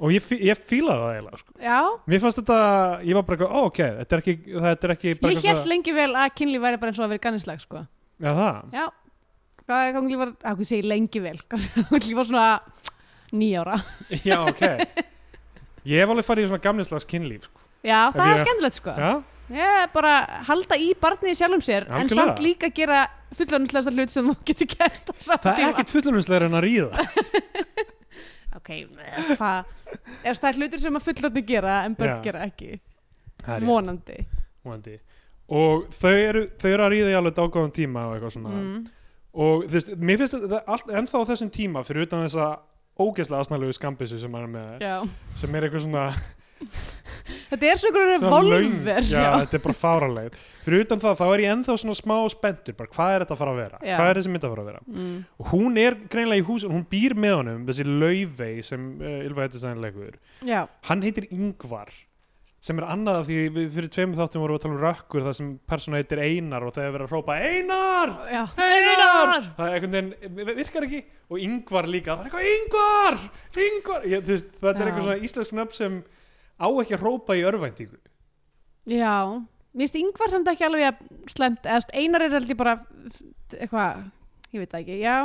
og ég, fí- ég fílaði það eiginlega sko. Já, mér fannst þetta, ég var bara eitthvað, ó ok þetta er ekki, þetta er ekki bara ég eitthvað- hélt lengi vel að kynli væri bara eins og að vera gannislag sko. Já, það. Já, hvað er gangi var að hvað segi lengi vel, gangi var svona nýjára já ok ég hef alveg farið í svona gamnislags kynlíf sko. Já, það ég- er skemmtilegt sko já Ég bara halda í barnið í sjálfum sér en Algjörlega. samt líka gera fullorðinslegasta hlut sem þú getur gert á saman Það er ekkert fullurumslegur en að ríða Ok, hvað? Ef það er hlutir sem að fullorðni gera en börn Já. gera ekki Það er rétt, Vonandi vonandi. Og þau eru, þau eru að ríða í alveg dágóðan tíma og eitthvað svona mm. Og þú veist, mér finnst þetta allt, ennþá á þessum tíma fyrir utan þessa ógeðslega asnalegu skambissu sem hann er með Já. sem er eitthvað svona, Þetta er svona einhverjum svona löng- revolver Já, þetta er bara fáralegt Fyrir utan það, þá er ég ennþá svona smá spenntur bara hvað er þetta að fara að vera? Já. Hvað er þessi mynd að fara að vera? Mm. Og hún er greinlega í húsin, hún býr með honum þessi laufey sem uh, Ylva Hettistæðin leikur já, hann heitir Yngvar sem er annað af því við fyrir tveimur þáttum vorum við að tala um rökkur þar sem persóna heitir Einar og þegar verið að hrópa Einar, já Einar það er einhvern veginn, virkar ekki og Yngvar líka, það er eitthvað Yngvar Yngvar, Ég, þú veist, þetta er Já. eitthvað svona íslensk nöfn sem á ekki að hrópa í örvæntingu Já, mér finnst yngvar samt ekki alveg að slemt eða þú veist, einar er heldur bara eitthvað, ég veit það ekki, já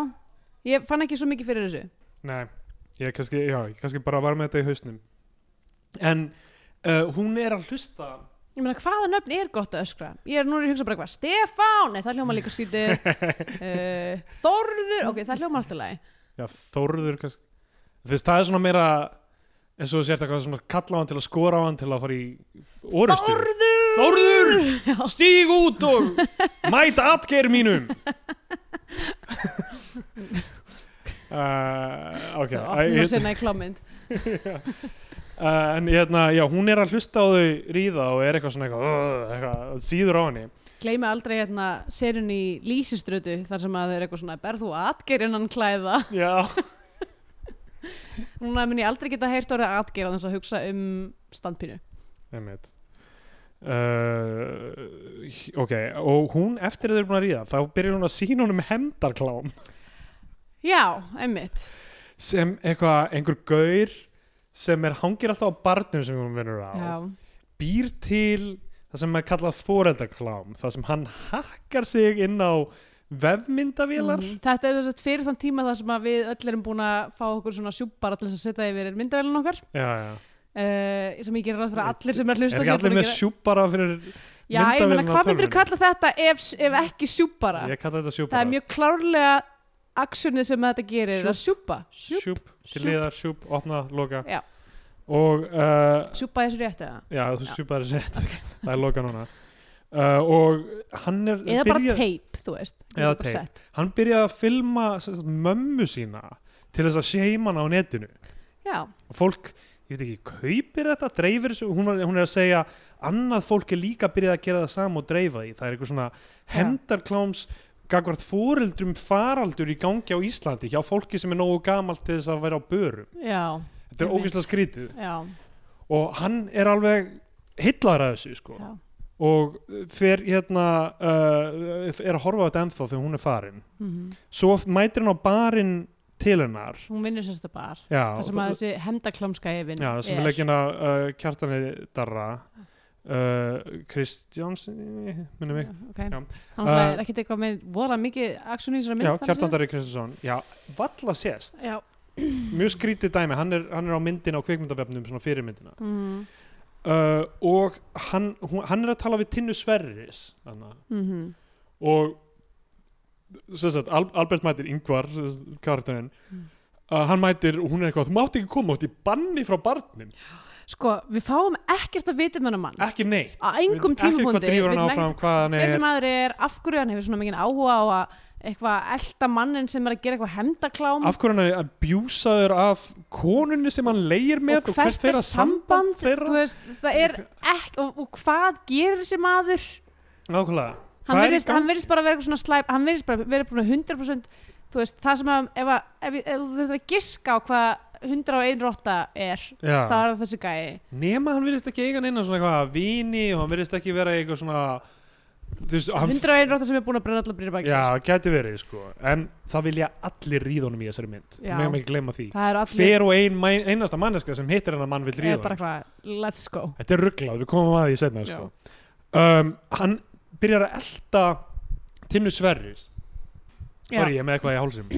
Ég fann ekki svo mikið fyrir þessu nei, ég kannski, já, ég kannski bara var með þetta í hausnum en uh, hún er að hlusta Ég meina, hvaða nöfn er gott að öskra? Ég er núna að hugsa bara eitthvað, Stefán, nei, það hljóma líka skrítið, uh, Þorður, ok, það hljóma alltaf lagi. já, Þórður kannski þú veist, það er svona meira en svo sért eitthvað svona kalla á hann til að skora á hann til að fara í orustu Þórður Þórður, stíg út og mæta atgeir mínum uh, ok Opnum Æ, að sinna í klámynd Uh, en hérna, já, hún er að hlusta á þau ríða og er eitthvað svona eitthvað, uh, eitthvað síður á henni Gleimi aldrei hérna serun í lýsiströtu þar sem að þau eru eitthvað svona berð þú atgeir innan klæða já, Núna mun ég aldrei geta heyrt orðið atgeir á þess að hugsa um standpínu einmitt uh, ok, og hún eftir að þau eru búin að ríða, þá byrjar hún að sína honum hemdarklám Já, einmitt sem eitthvað, einhver gaur sem er hangir alltaf á barnum sem hún vinnur á Já, býr til það sem er kallað foreldaklám það sem hann hakkar sig inn á vefmyndavélar Mhm. Þetta er þess að fyrir þann tíma þar sem að við öll erum búin að fá okkur svona sjúpar allir sem setja yfir myndavælun okkar já, já. uh, sem ég gerir ráð fyrir að allir sem er að er hlusta ekki séu allir búin að með gera- sjúbara fyrir Já, ég meina, myndavélina á hvað myndir tölvunni? kalla þetta ef, ef ekki sjúpara? ég kalla þetta sjúbara Það er mjög klárlega aksjónið sem þetta gerir, er að sjúpa Sjúp- sjúp, til sjúp. liðar, sjúp, opna, loka Já. og uh, Sjúpa þessu réttu eða? já, þú Já. sjúbara sér það er loka núna uh, og hann er Eða bara byrja- teip, þú veist Eða Þetta er bara teip. sett. hann byrjaði að filma sem sagt, mömmu sína til þess að seima hana á netinu Já, og fólk, ég veit ekki, kaupir þetta dreifir þessu, hún, var, hún er að segja annað fólk er líka byrjað að gera það sama og dreifa því, það er eitthvað svona hendarkláms gagvart foreldrum faraldur í gangi á Íslandi hjá fólki sem er nógu gamalt til þess að vera á börum já, þetta er Einmitt. ógeðslega skrítið já, og hann er alveg hillar að þessu sko já og fer hérna uh, er að horfa á þetta ennþá þegar hún er farin Mhm. svo mætir hann á barinn til hennar Hún vinnur sérst að bar já, Það sem að þessi hemdaklámska ég vinn Já, sem er leggina uh, Kjartani Darra uh, Kristjáns minnum mig okay. Já. Hann uh, er ekkert eitthvað með voða mikið aksjónið í þessari mynd Já, þannig Kjartan séð. Darri Kristjánsson Já, valla sést Já, Mjög skrítið dæmi, hann er, hann er á myndin á kvikmyndavefnum svona fyrir myndina mhm, uh, og hann, hún, hann er að tala við Tinnu Sverris þarna. mhm og sem sagt, Al Albert mætir yngvar karakterinn Mm. uh, hann mætir og hún er eitthvað, þú mátt ekki koma út í banni frá barnin, Sko, við fáum ekkert að vita um hennar mann ekki neitt á engum Við- ekki hvað tímapunkti drífur hann vitum áfram, hvað hann hver er sem aðri er, af hverju hann hefur svona mikið áhuga á að eitthvað elda mannin sem er að gera eitthvað hemdaklám af hverju hann er abjúsaður af konunni sem hann leigir með og, hvert þeirra samband þú þeirra veist, það er ekki og, og hvað gerir þessi maður nákvæmlega hann Hvað er í verðist, gangi? hann verðist bara vera eitthvað svona slæp hann verðist bara vera búin að 100% þú veist, það sem að ef, að, ef, ef, ef þú þurftir að giska á hvað 101 rotta er Já. það er þessi gæi nema hann virðist ekki eiga neina svona eitthvað vini og hann virðist ekki vera eitthvað svona þú veist, hann 101 rotta sem er búin að brenna allar brýra baki já, gæti verið sko en það vilja allir ríðunum í þessari mynd Já. meðum ekki gleyma því það er allir hver og ein, mæ- einasta manneska sem hittir hennar mann vil er bara ríðunum hvað, let's go þetta er rugglað, við komum að því setna sko. um, hann byrjar að elda Tinnu Sverris Sorry, ég er með eitthvað í hálsum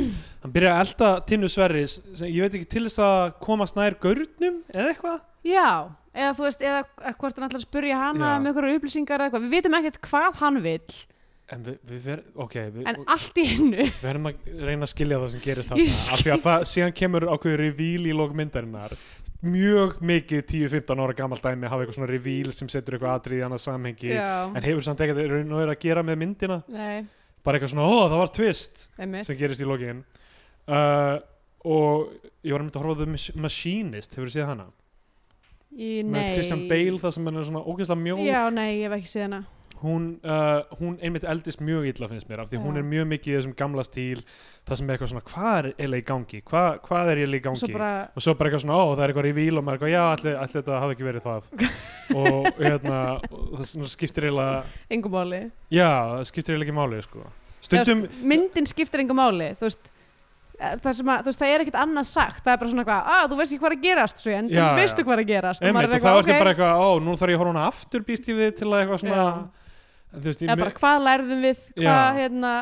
Hann byrjar að elda Tinnu Sverris sem, Ég veit ekki til þess að komast nær gaurnum eða eitthvað Já, eða þú veist, eða eða hvort hann ætlar að spurja hana Já. um einhverjar upplýsingar eða eitthvað, við vitum ekkert hvað hann vill, En við, við ver, ok, við, en allt í hennu, við verðum að reyna að skilja það sem gerist Ég þarna skil- af því að það síðan kemur ákveður revíl í lók myndarinnar mjög mikið 10-15 ára gamalt dæmi hafa eitthvað svona revíl sem setur eitthvað atrið í annað samhengi já, en hefur samt ekkert í raun og verið að gera með myndina nei, bara eitthvað svona, ó það var twist einmitt, sem gerist í lókin uh, og ég var einmitt að horfa á The Mach- Machinist, hefur þú séð hana? í nei, með Christian Bale það sem hann er svona ógeðslega mjór já, nei, ég hef ekki séð hana, hún, uh, hún einmitt eldist mjög illa finnst mér af því Já. hún er mjög mikið í þessum gamla stíl það sem er eitthvað svona hvað er eiginlega í gangi Hva, hvað er eiginlega í gangi svo bara, og svo bara eitthvað svona ó það er eitthvað í víl og maður er eitthvað já allir alli þetta hafi ekki verið það og hérna og það svona skiptir eiginlega engum máli, já það skiptir eiginlega ekki máli sko Þú stundum veist, myndin skiptir engum máli, þú veist, eh, það sem að, þú veist, það er ekkert annað sagt, það er bara svona eitthvað, að þú veist ekki hvað er að gerast, svo en þú Já, veistu hvað er að gerast, einmitt er og þá er þetta bara eitthvað ó nú þarf ég að horfa á hana aftur býst ég við til að eitthvað svona Já. þú veist eða ég bara hvað lærðum við hvað Já. hérna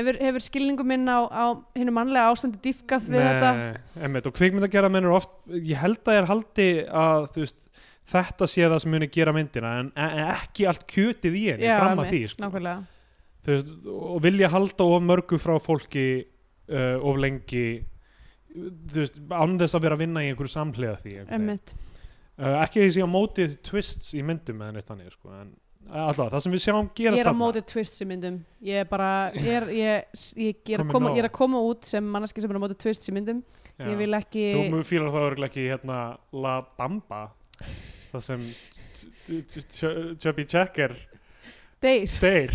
hefur, hefur skilningu minn á, á hennu mannlega ástandi dýfkað við þetta emmitt, og kvikmyndagjara menn eru oft ég held að ég haldi að þú veist, þetta sé það sem muni gera myndina en, en ekki allt kjötið í henni fram að því einmitt, sko. nákvæmlega Þú veist, og vilja halda of mörgu frá fólki uh, of lengi þú veist, án þess að vera að vinna í einhverju samhlega því einhvern veginn. emmitt uh, ekki því að mótið twists í myndum eða neitt þannig sko, en alltaf, það sem við sjáum ég gerast er að þarna- móti twists í myndum ég er bara, ég er, ég, ég, ég, er, að Komið koma, nóg. ég er að koma út sem manneski sem er að móti twists í myndum Já. ég vil ekki Þú fýlar þá örgulega ekki hérna La Bamba það sem Chubby Checker deyr, deyr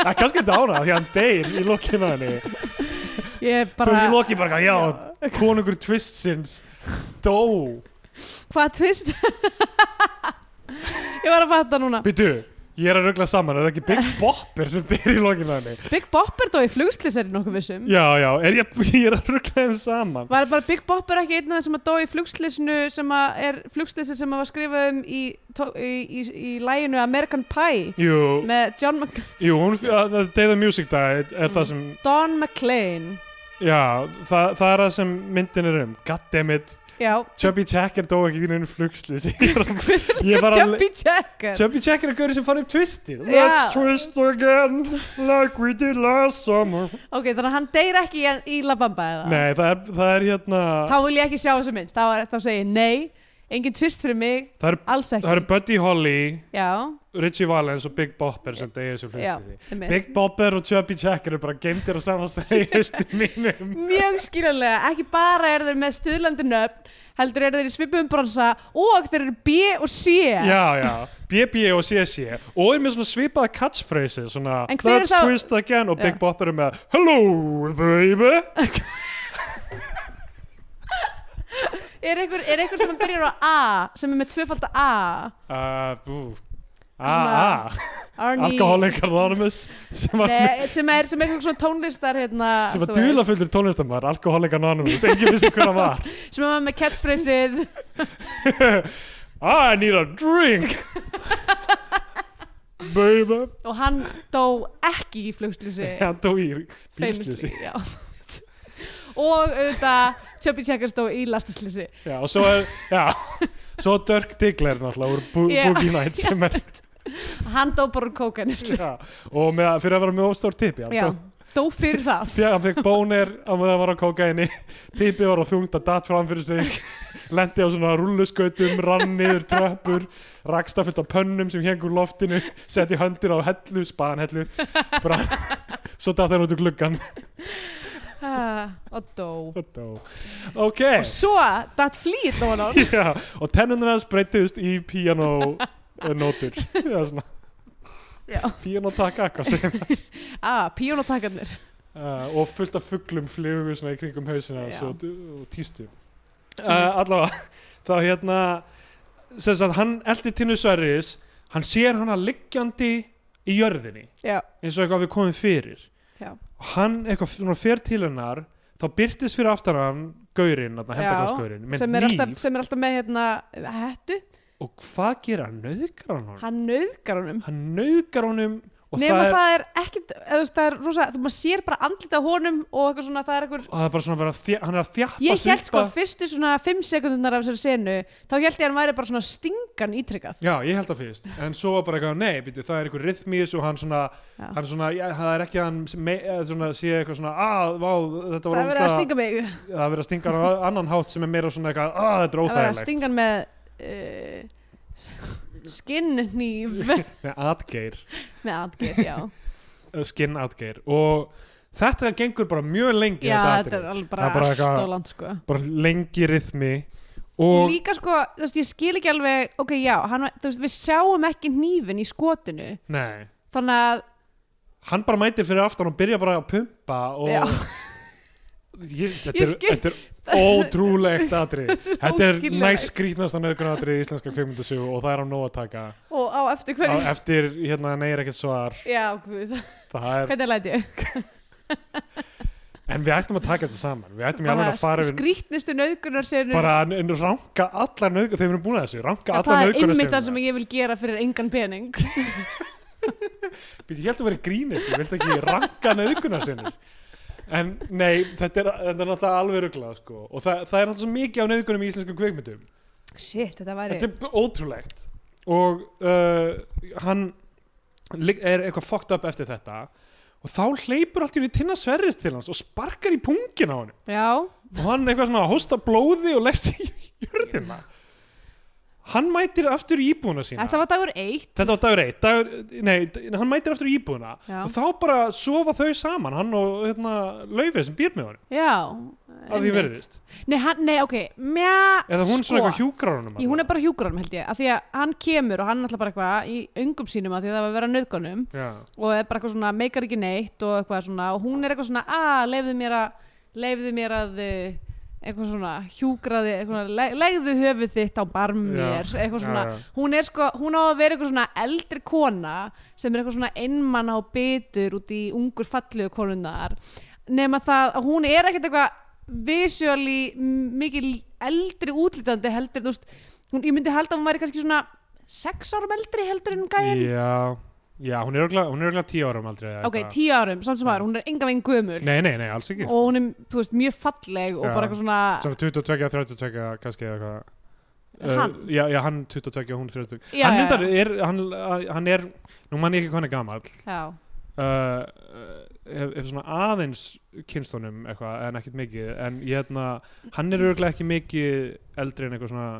að kannski er þetta ára því að hann deyr í lokinu hann ég er þú bara er í lokinu bara já, konungur twistsins dó hvað twist ég var að fatta núna byrju, ég er að rögla saman er það ekki Big Bopper sem deyr í lokinu hann Big Bopp er þó í flugslýsari nokkuð vissum já, já, er ég, ég er að rögla þeim saman Var bara Big Bopp er ekki einn af þeim sem að dó í flugslýsinu sem að er flugslýsi sem að var skrifað um í, tó- í, í, í læginu American Pie jú, með John Mc, jú, hún Day the Music Died er það sem Don McLean já, það, það er það sem myndin er um goddammit Já, Chubby Checker dó ekki í einu flugslýs ég er að- ég var að Jumpy Checker Chubby Checker er gaurið sem fann upp twistið Já. Let's twist again like we did last summer Ok, þannig að hann deyr ekki í, í La Bamba eða Nei, það er, það er hérna Þá vil ég ekki sjá þessu mynd Þá, er- þá segi ég nei, engin twist fyrir mig það eru Alls ekki það eru Buddy Holly, Já, Richie Valens og Big Bopper sem degið þessu já, flugslýsi einmitt. Big Bopper og Chubby Checker eru bara geimdir á samanstæði í haustum mínum Mjög skiljanlega, ekki bara er þeir með stuðlandi nöfn, heldur er þeir í svipum bransa og þeir eru B og C. Já, já, BB og CC og er með svona svipaða catchphrases svona, En hver er Let's þá- twist again og Big Já. Bopper er með Hello, baby Er einhver, er einhver sem byrjar á A, sem er með tvöfald A? Uh, bú. Svona- Ah, ah, Arnie- Alcoholic Anonymous sem var, Nei, sem er, sem er einhver svona tónlistar, hérna, sem var þú veist, duðlafullur tónlistamæður Alcoholic Anonymous, enginn vissi hver hann var sem er með catchphraseið, I need a drink Baby og hann dó ekki í flugstlýsi. Hann dó í bílslýsi já. og auðvitað, Chubby Checkers dó í lastaslýsi. Já, og svo er já, Svo Dirk Diggler náttúrulega úr Bo Já. Boogie Nights sem er, Hann dó bara úr kókanislu. já, og með, að- fyrir að vera með ofstór tipi hann Já, dó- dó fyrir það. Fjö- hann fekk bónir á meðan hann var á kókaini tipið var á þungta datt fram fyrir sig lendi á svona rulluskautum rann niður tröppur raksta fullt af pönnum sem hengur loftinu setti höndir á hellu, spaðan hellu bara, svo datt hann út úr gluggan Ah, og dó. og dó. ok Og svo, það flýt á hann á. Já, og tennunir hans breytiðust í piano eh, nótur Eða svona, Já. piano taka eitthvað sem Ah, píónatakarnir. uh, og fullt af fugglum flugu svona í kringum hausina Já. Mm. og, og tístu uh, allavega þá hérna sem sagt hann eldi Tinnu Sverris hann sér hana liggjandi í jörðinni Já. eins og eitthvað við komum fyrir Já. og hann eitthvað svona fer til hennar þá byrtist fyrir aftan hann gaurinn, hendakláðsgaurinn með Sem er, nýf alltaf, sem er alltaf með hérna hættu, og hvað gera hann? Nauðgar hann honum? hann nauðgar honum Hann nauðgar honum og nema það er, það er ekkit eða þú veist, það er rosa, þú maður sér bara andlita honum og eitthvað svona, það er eitthvað og það er bara svona að vera að þjá- hann er að þjappa ég held sko fyrstu svona 5 sekundunar af þessari senu, þá held ég að hann væri bara svona stingan ítrykkað Já, ég held það fyrst, en svo var bara eitthvað, nei, býtu, það er eitthvað rithmís og hann svona, Já. hann svona, já, það er ekki að hann sem- me- eða svona, sé eitthvað svona, að, vá, þetta það var er verið að stinga mig það er verið að stinga hann á annan hátt sem er meira svona eitthvað, að, það er þetta er verið að óþægilegt. stinga hann með uh, skinnýf Nei, atgeir, eh, með atgeir, já, skinn atgeir og þetta gengur bara mjög lengi, já þetta þetta er atrið, alveg Það bara, er bara eitthvað- allt og land sko bara lengi rithmi og og, líka sko, þú veist, ég skil ekki alveg ok, já, hann, var- þú veist, við sjáum ekki hnífin í skotinu, nei, þannig að hann bara mætir fyrir aftan og byrja bara að pumpa og... Já. Ég, þetta, Ég er, skil- þetta er ótrúlegt atrið Þetta er óskiljanlegt. næst skrýtnasta nöðgunatrið í íslenska kveikmyndasögu og það er á nóg að taka og á eftir á, hverju eftir hérna neyir ekkert svar já, guð, það er, hvernig læt ég en við ættum að taka þetta saman við ættum í alveg að fara yfir skrítnistu nöðgunar sem bara að n- ranka allar nöðgunar þegar við erum búin að þessu, ranka það er allar einmitt nöðgunar það sem ég vil gera fyrir engan pening ég held að vera grínist, ég vildi ekki ranka nöðgunar en nei, þetta er, þetta er náttúrulega alveg ruglað sko. og það, það er náttúrulega svo mikið á nöðgunum í íslensku kveikmyndum shit, þetta væri Þetta er b- ótrúlegt og uh, hann lig- er eitthvað fucked up eftir þetta og þá hleypur allt í henni tinna sverris til hans og sparkar í pungin á hann já, og hann eitthvað svona hósta blóði og leggst í jörðina hann mætir aftur í íbúðuna sína Þetta var dagur eitt Þetta var dagur eitt dagur, nei, d- hann mætir aftur í íbúðuna Já. og þá bara sofa þau saman hann og hérna, laufið sem býr með honum Já að því einmitt. verðist, Nei, hann, nei, ok, mjá eða hún sko. svona eitthvað hjúkrar honum Í, hún er bara hjúkurum held ég, af því að hann kemur og hann alltaf bara eitthvað í öngum sínum af því að það var að vera nöðgunum Já. og er bara eitthvað svona, meikar ekki neitt og eitthvað svona, og hún er eitthvað svona, að, leifðu mér að leifðu mér að eh, eitthvað svona, hjúkraði, eitthvað, le, legðu höfuð þitt á barmér Já. eitthvað svona, Já, já. hún er sko, hún á að vera eitthvað svona eldri kona sem er eitthvað svona einmanna og bitur út í ungur fallegu konunar nema það að hún er ekkert eitthvað visually m- mikið eldri útlítandi heldur þú veist, hún, ég myndi halda að hún væri kannski svona sex árum eldri heldur en gæinn Já, já, hún er örugglega- hún er örgulega tíu árum aldrei eða ok, eitthvað. tíu árum, samt sem aður, hún er enga veginn gömul Nei, nei, nei, alls ekki og hún er, þú veist, mjög falleg og Já. bara eitthvað svona, Svona 22, 32 kannski eða eitthvað Uh, Eh, Hann? já, já, hann 22 og hún 30 Já, já, hann, reyndar er, hann, eh, hann er Nú man ég ekki hvað hann er gamall já, uh, ef, ef svona aðeins kynstónum eitthvað en ekkert mikið en ég hérna, hann er örgulega ekki mikið eldri en eitthvað svona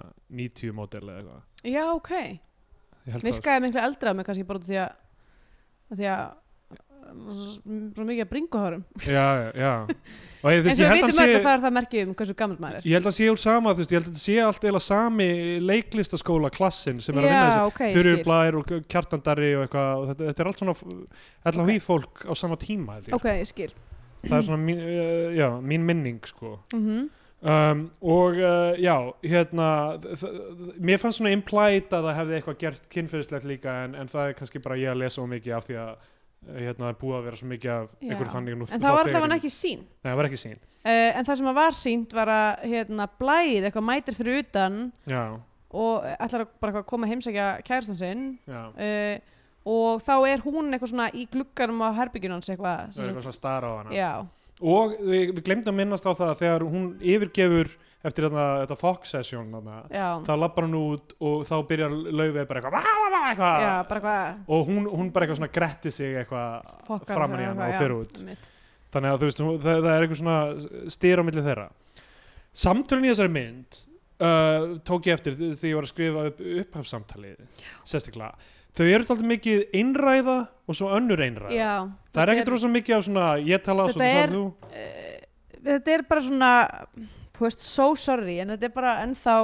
90 mótel eða eitthvað já, ok Ég held það. virkaði miklu eldra með kannski bara út af því að af því að svo mikið að bringu hárum Já, já, já Og ég, eins þú veist, og ég við held vitum hann öll sé að það er það merkið um hversu gammal maður er Ég held að hann sé úr sama, þú veist, ég held að þetta sé allt eða sami leiklistaskóla klassin sem er að vinna já, þessi ok, ég Þurri skil. blær og kjartandari og eitthvað og þetta, þetta er allt svona allan okay. fólk á sama tíma held ég. ok, ég skil það er svona mín, uh, já, mín minning sko mm um, og uh, já, hérna þ- þ- mér fannst svona implied að það hefði eitthvað gert kynferðislegt líka en, en það er kannski bara ég að lesa of mikið af því að uh, hérna, það er búið að vera svo mikið af Já. einhverju þannig nú, en það var þegar- alltaf hann ekki sín Nei, það var ekki sín uh, en það sem að var sínt var að hérna, blær eitthvað mætir fyrir utan já, og ætlar að bara eitthvað að koma að heimsækja kærastan sinn já uh, og þá er hún eitthvað svona í glugganum á herbyggjunum hans eitthvað, það er sem eitthvað svona stara á sagt- hana já, og við, við glemdum að minnast á það að þegar hún yfirgefur eftir þarna, þetta Fox session þarna, já, þá labbar hún út og þá byrjar laufið bara eitthvað, "Vá, vá, vá," eitthvað já, bara eitthvað og hún, hún bara eitthvað svona gretti sig eitthvað fokkar framan í hana og eitthvað, fyrir já, út einmitt. þannig að þú veist, hún, það, það er eitthvað svona styr á milli þeirra samtölun í þessari mynd uh, tók ég eftir þegar ég var að skrifa upp upphafsamtalið sérstaklega þau eru alltaf mikið einræða og svo önnur einræða já, það er ekkert þetta rosa mikið af svona ég tala Þetta svo er- það þú Eh, þetta er bara svona þú veist, so sorry en þetta er bara ennþá,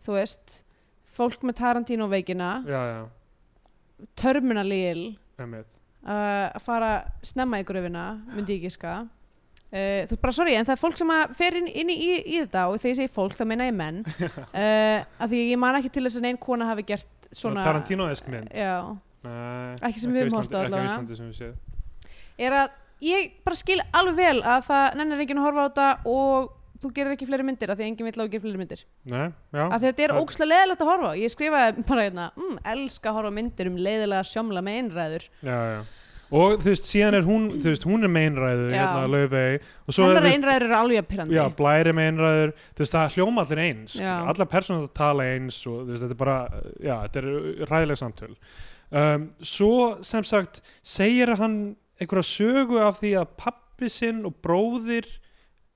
þú veist fólk með Tarantino veikina já, já, terminalíl emmitt uh, að fara snemma í gröfina myndi ég giska uh, þú er bara sorry en það er fólk sem að fer inn, inn í, í, í þetta og þegar ég segi fólk þá meina ég menn uh, að því ég man ekki til þess að neinn kona hafi gert svona Tarantino-esk mynd já, Nei, Ekki sem við höfum á horft á Íslandi- ekki á allavega. Íslandi sem við séð. er að ég bara skil alveg vel að það nennir enginn að horfa á þetta og þú gerir ekki fleiri myndir að því að enginn vill að þú gerir fleiri myndir Nei, já, að þetta er það- ógslag leðilegt að horfa á ég skrifaði bara hérna, mm, elska að horfa á myndir um leiðilega sjómla með einræður já, já og þú veist, síðan er hún, þú veist, hún er meinræðu Já. hérna, laufey og svo er, þú hennar veist, einræður eru alveg að pyrrandi Já, blæri með einræður, þú veist, það hljóma allir eins, sko. Já. allar personur tala eins og þú veist, þetta er bara, já, þetta er ræðileg samtöl. Um, svo, sem sagt, segir hann einhverja sögu af því að pappi sinn og bróðir,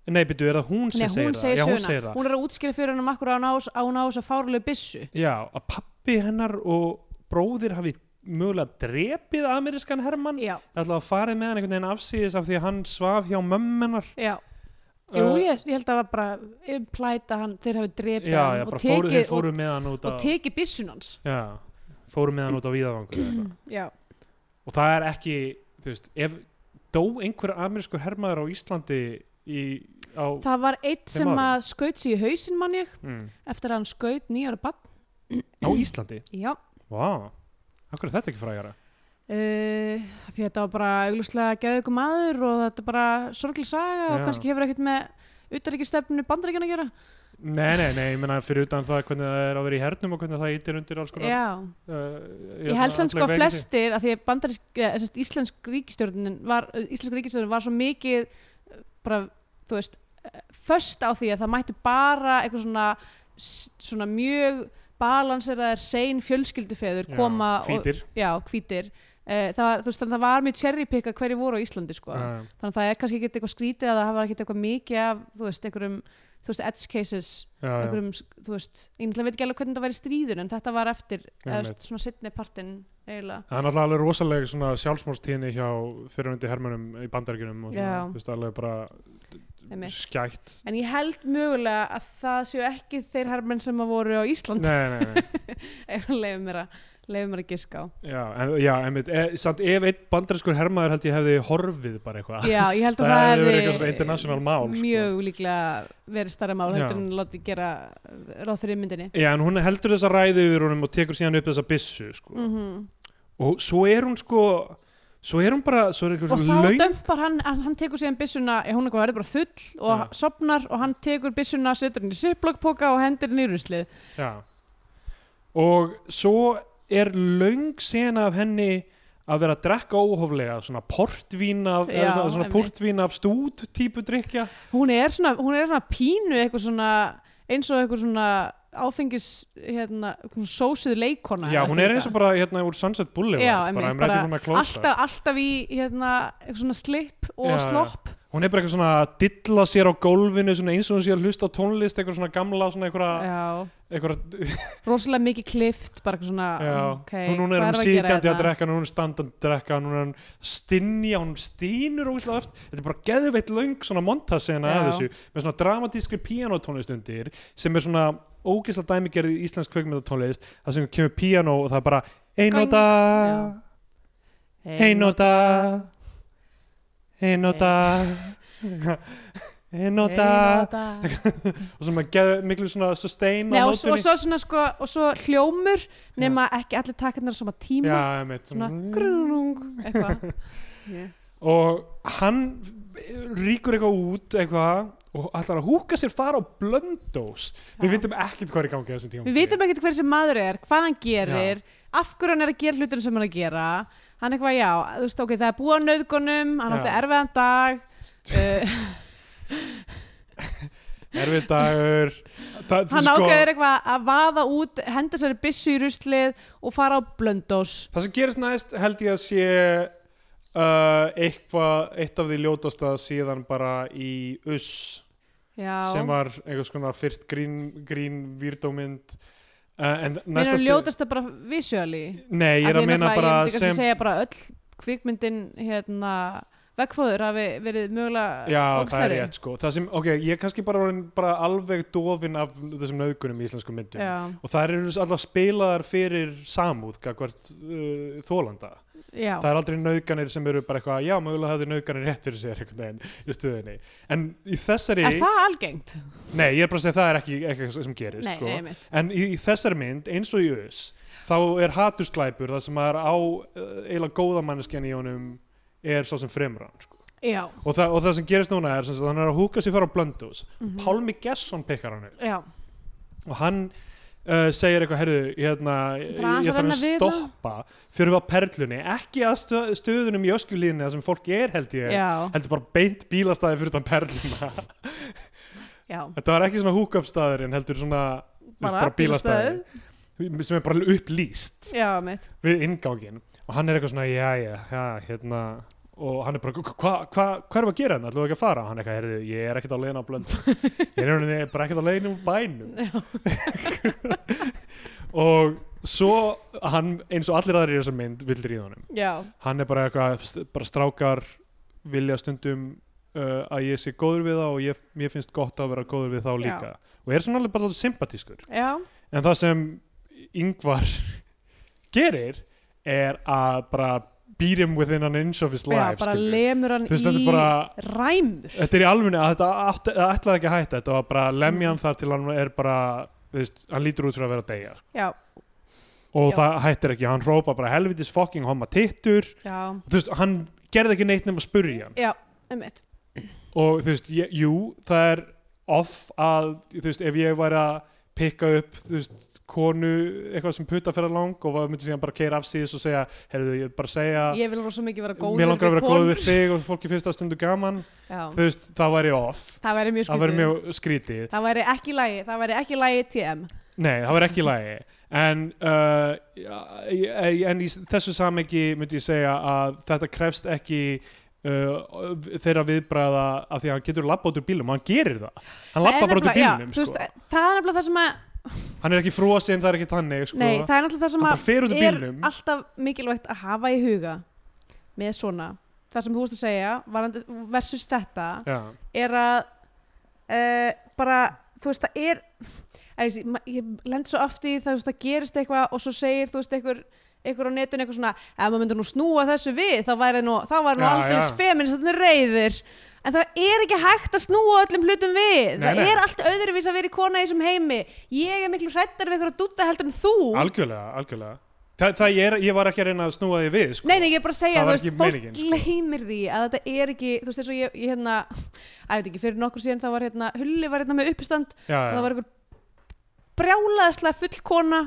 nei, byrju, er það hún sem Nei, segir hún það? segir já, söguna, hún segir það. hún er að útskýra fyrir hann um akkur án á þess að fárlega byssu Já, að pappi hennar og bróðir hafi mögulega drepið amerískan Hermann, Já, ætlaði að farið með hann einhvern veginn afsýðis af því að hann svaf hjá mömmennar. já Jú, Uh, ég, ég held að það var bara implæta hann, þeir hafi drepið Já, hann já, og bara fóru, tekið, þeir fóru með hann og, út og tekið byssun hans Já, fóru með hann út á víðavangur eða eitthvað. Já, og það er ekki, þú veist, ef dó einhver amerískur hermaður á Íslandi í, á, það var eitt Þeim sem árum. að skaut sig í hausinn mann ég mm, eftir að hann skaut nýjar bann á Íslandi? Já, Vá, akkur er þetta ekki frægara? uh, því þetta var bara auglúslega geðu ykkur maður og þetta er bara sorglega saga og Já. kannski hefur ekkert með utarrikistefnu bandaríkjana að gera Nei, nei, nei, ég meina fyrir utan það hvernig það er að vera í hernum og hvernig það ítir undir alls konar Já, uh, ég held sem sko að flestir að því að bandarísk, eða, sem sagt, íslensk ríkistjórnin var, eh, íslensk ríkistjórnin var svo mikið eh, bara, þú veist eh, föst á því að það mættu bara eitthvað svona, s- svona mjög balanseraðir sein fjölskyldufeður koma og, Fítir, já, hvítir Eh, það, þú veist, þannig að það var mjög cherrypicka hverju voru á Íslandi sko. Já, já. þannig að það er kannski ekki eitthvað skrítið að það hafa ekki eitthvað mikið af þú veist, einhverjum þú veist, edge cases Já, já. einhverjum, þú veist, ég náttúrulega veit ekki alveg hvernig það var í stríðun en þetta var eftir, eða þú Einmitt. veist, svona setni partinn eiginlega, Það er náttúrulega alveg rosaleg svona sjálfsmórstíðni hjá fyrirhundi hermönum í bandaríkjunum og svona, Já. þú veist, alveg bara einmitt skætt. en ég held mögulega að það séu ekki þeir herrmenn sem að voru á Íslandi Nei, nei, nei. leiðum mér að leiðum mér að giska á Já, en, já, einmitt, e, samt ef einn bandarískur hermaður held ég hefði horfið bara eitthvað. já, ég held að Það það hefði verið hefði eitthvað svona international mál, sko. mjög líklega verið starra mál Já. heldur en láti gera ráð fyrir myndinni Já, en hún heldur þessa ræðu yfir honum og tekur síðan upp þessa byssu, sko. mm Og svo er hún sko, svo er hún bara, svo er eitthvað og svona þá laun. dömpar hann, hann, hann tekur síðan byssuna eh, hún eitthvað verður bara full og Já. sopnar og hann tekur byssuna, setur henni í siplokkpoka og hendir henni í ruslið Já. Og svo er laung sena af henni að vera að drekka óhóflega, svona portvín af, Já, eða svona einmitt. portvín af stút típu drykja. hún er svona, hún er svona pínu eitthvað svona, eins og eitthvað svona áfengis hérna, svona sósuð leikona Já, hún er eins og bara hérna úr Sunset Boulevard Já, bara, einmitt, I'm ready bara for my close alltaf, alltaf í hérna, eitthvað svona slip Já, og já. slopp Hún er bara eitthvað svona að dilla sér á gólfinu svona eins og hún sé að hlusta á tónlist eitthvað svona gamla, svona eitthvað, já, eitthvað rosalega mikið klift bara eitthvað svona, Já, ok hún, hún er hvað hún að gera síkandi að hérna? drekka hún er hún standandi að drekka, hún er hún stinja hún stínur ógislega oft þetta er bara geðveitt löng svona montasena Já. að þessu, með svona dramatískri píanótónlist undir, sem er svona ógislega dæmigerði í íslensk kveikmyndatónlist það sem kemur píanó og það er bara einóta, einóta einóta einóta Einóta. og sem er geð, miklu svona sustain Nei, á og, svo, og nótunni svo svona sko, og svo hljómur nema ekki allir takarnar sama tíma Já, einmitt, svona svona- grunung eitthvað og hann ríkur eitthvað út eitthvað og ætlar að húka sér fara á blöndós Já. við vitum ekkert hvað er í gangi á þessum tíma við vitum ekkert hver sem maður er, hvað hann gerir af hverju hann er að gera hlutin sem hann er að gera hann eitthvað já, þú veist ok, það er búið á nöðgunum hann Já. átti erfiðan dag uh, erfið dagur það, hann sko, ákveður eitthvað að vaða út henda sér byssu í ruslið og fara á blöndós það sem gerist næst held ég að sé uh, eitthvað eitt af því ljótasta síðan bara í uss já, sem var einhvers konar fyrst grín, grín vírdómynd uh, en mér næsta er ljótast það bara visually nei, ég er að meina bara ég myndi kannski sem segja bara öll kvikmyndin hérna vegfóður hafi verið mögulega Já, það er ógeðslegri. rétt sko það sem, ok, ég er kannski bara, orðinn bara alveg dofin af þessum nöðgunum í íslenskum myndum já, og það eru alltaf spilaðar fyrir samúð hvert uh, þólanda já, það er aldrei nöðganir sem eru bara eitthvað já, mögulega hafði nöðganir rétt fyrir sér einhvern veginn í stöðinni en í þessari, er það algengt? nei, ég er bara að segja það er ekki eitthvað sem gerist Nei, sko. nei, mitt En í, í þessari mynd, eins og í US, þá er hatusglæpur það sem er á uh, eiginlega góða manneskjan í honum er sá sem fremur hann. Sko. Já, Og, það, og það sem gerist núna er sem sagt, hann er að húka sér fara á blöndus. Mhm. Pálmi Gesson pikkar hann upp já, og hann uh, segir eitthvað, herðu, hérna, ég Ég þarf aðeins að ég þarf að renna við stoppa fyrir við á perlunni, ekki að stö, stöðunum í öskulíðinni þar sem fólk er held ég. já, Heldur bara beint bílastæði fyrir utan perluna. já Þetta var ekki svona húkab staður en heldur svona þú veist, sem er bara upplýst Já, mitt við ingágin og hann er eitthvað svona, já, já, já, hérna og hann er bara, hvað hva, hva hvað erum við að gera hérna, ætlum við ekki að fara? Hann er eitthvað, heyrðu, ég er ekkert á leiðin á blönd ég er í rauninni bara ekkert á leiðin úr bænum og svo hann, eins og allir aðrir í þessum mynd vill ríða honum, Já, hann er bara eitthvað st- bara strákar vilja stundum uh, að ég sé góður við þá og ég, ég finnst gott að vera góður við þá Já. líka og er svona alveg bara sympatískur já, En það sem Yngvar gerir er að bara beat him within an inch of his já life. bara skilurðu. lemur hann Þú veist, þetta í er bara, ræmur þetta er í alvunni að þetta átti- það ætlaði ekki að hætta, þetta var bara að lemja Mm. hann þar til hann er bara, þú veist, hann lítur út fyrir að vera að deyja. sko. Já, Og Já. það hættir ekki, hann hrópa bara helvitis fucking homma tittur, já, þú veist, hann gerði ekki neitt nema að spurja hann. já, mitt Og þú veist, ég, jú, það er off að, þú veist, ef ég væri að pikka upp, þú veist, konu eitthvað sem putta fyrir lang og myndi síðan bara keira af síðis og segja, heyrðu, ég er bara að segja Ég vil rosa mikið vera góður mér langar að vera góð við konur. þig og fólki finnst það stundu gaman Já, þú veist, það væri off það væri mjög það væri skrítið mjög skrítið Það væri ekki lægi, það væri ekki lægi TM nei, það væri ekki í lagi en, uh, já, ég- en í þessu samengi myndi ég segja að þetta krefst ekki uh, þeirra viðbræða af því að hann getur labba út úr bílum og hann gerir það hann labba En bara út úr nefnilega- já, bílunum þú sko. veist, það er nefnilega það sem að hann er ekki frosinn, það er ekki þannig sko. nei, það er náttúrulega það sem hann að bara fer út úr er bílunum alltaf mikilvægt að hafa í huga með svona það sem þú veist að segja varandi, versus þetta já, er að uh, bara, þú veist, það er að ég, sé- ma- ég lend svo oft í það, þú veist, það gerist eitthvað og svo segir, þú veist, einhver einhver á netun eitthvað svona, ef maður myndur nú snúa þessu við, þá væri nú, þá var nú Já, alltaf já. feministarnir reyðir en það er ekki hægt að snúa öllum hlutum við Nei, það nei. er allt öðruvís að vera í kona í þessum heimi ég er miklu hrættar við einhverja dutta heldur en þú algjörlega, algjörlega Þa, það ég, er, ég var ekki að reyna að snúa því við sko. Nei, nei, ég er bara að segja, Það þú var veist, ekki fólk meiningin, sko. gleymir því að þetta er ekki, þú veist, eins og ég, ég hérna, að veit ekki, fyrir nokkur síðan þá var hérna, Hulli var hérna með uppistand já, og já. það var einhver brjálaðislega full kona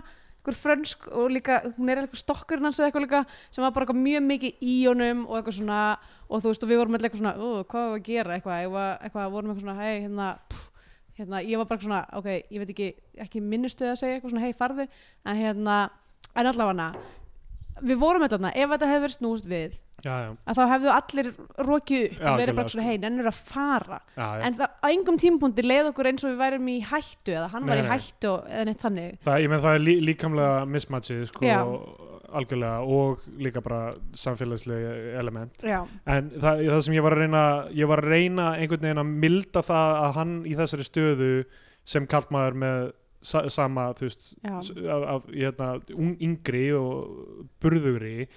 einhver frönsk og líka hún er eitthvað stokkurinn hans eða eitthvað líka sem var bara eitthvað mjög mikið í honum og eitthvað svona og þú veist og við vorum eitthvað svona "Ú, hvað var að gera eitthvað, ég var, eitthvað vorum eitthvað svona hei hérna, pff, hérna ég var bara eitthvað svona ok, ég veit ekki, ekki minnustu að segja eitthvað svona hei farðu en hérna, en allavega við vorum eitthvað þarna, ef þetta hefði verið snúst við já, já, að þá hefðu allir rokið upp Já, og verið algjörlega, bara svona sko. hei, nennur að fara já, já. en það, á engum tímpúndi leið okkur eins og við værum í hættu eða hann Nei, var í nei. hættu og- eða neitt þannig Það, ég menn það er lí, líkamlega mismatchið sko, Já. algjörlega og líka bara samfélagslega element já, en það, það sem ég var að reyna ég var að reyna einhvern veginn að milda það að hann í þessari stöðu sem kallmaður með sa, sama þú veist já, s- af, af hérna, un, yngri og burðugri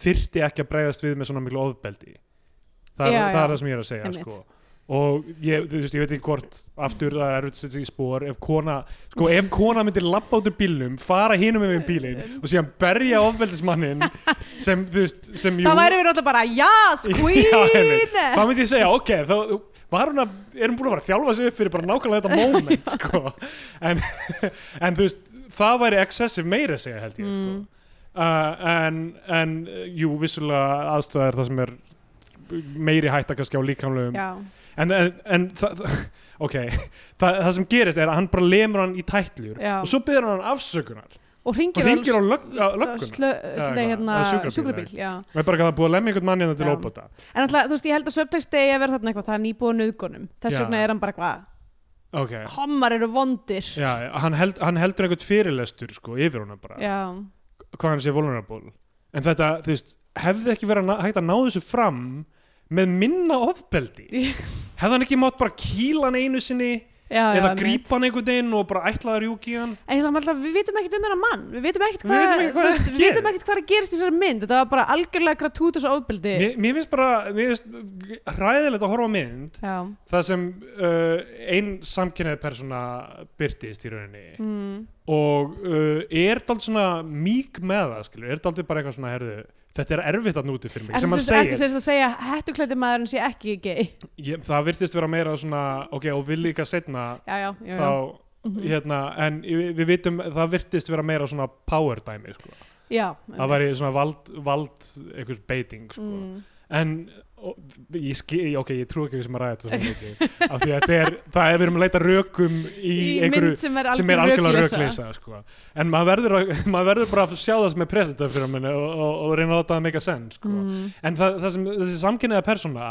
þyrfti ekki að bregðast við með svona miklu ofbeldi það, er- Já, það já. er það sem ég er að segja Einmitt. sko. og ég, þú veist, ég veit ekki hvort aftur það er erfitt að setja sig í spór ef kona, sko, ef kona myndir labba út úr bílnum fara hinum með bílinn og síðan berja ofbeldismannin sem, þú veist, sem jú það væri við náttúrulega bara yes, queen þá myndi ég segja, ok, þá var hún að, er hún búin að vera að þjálfa sig upp fyrir bara nákvæmlega þetta moment, sko en, en þú veist, það væri excessive meira að segja, held Mm. ég, sko uh, en, en, uh, jú, vissulega aðstöða er það sem er meiri hætta kannski á líkamlegum já, en, en, en það, það- ok, það, það sem gerist er að hann bara lemur hann í tætlur Já. og svo byrður hann afsökunar og og hringir hringir á lög, lögguna slö, eitthvað, nei, hérna, eða sjúkrabíl, sjúkrabíl já. og er bara ekki að það er búið að lemja einhvern mann hérna til Já. óbóta en alltaf, þú veist, ég held að söptegst degi að vera þarna eitthvað það er nýbúið nöðgunum, þess Já. vegna er hann bara hvað ok, homar eru vondir já, Já, já, hann, held, hann heldur einhvern fyrirlestur sko, yfir hana bara, já, hvað hann sé vulnerable en þetta, þú veist, hefði ekki verið að ná- hægt að ná þessu fram með minna ofbeldi Já. hefði hann ekki mátt bara kýla hann einu sinni já, eða einmitt. grípa hann einhvern veginn og bara ætla að rjúki hann En ég ætla alltaf, við vitum ekkert um hennar mann, við vitum ekkert Við hvað, vitum ekkert hvað þú veist, við vitum það gerir. ekkert hvað er að gerist í þessari mynd, þetta var bara algjörlega gratút og svo ofbeldi. mér, mér finnst bara, mér finnst hræðilegt að horfa á mynd Já, það sem uh, ein samkynnaði persóna byrtist í rauninni mm. og uh, er daldið svona mýk með það, skilur, er daldið bara eitthvað svona herðu, þetta er erfitt að núti fyrir mig En sem hann sem segir, ertu sem sagt að segja hættuklæti maðurinn sé ekki gay Ég, það virtist vera meira svona, ok, og við líka setna Já, já, já, Mhm. já. þá, hérna, en við við vitum, það virtist vera meira svona power dæmi, sko. já Það væri svona vald, vald einhvers beiting, sko. mm. En, og, ég skil, ok, ég trú ekki við sem að ræða þetta svona mikið, af því að þetta er, það er við erum að leita rökum í, Í einhverju mynd sem er sem er algjörlega röklausa. rökleysa, sko. En maður verður, að- maður verður bara að sjá það sem er presentað fyrir manni og, og, og reyna að láta það meika senn, sko. mm. En það, það sem þessi samkynniða persóna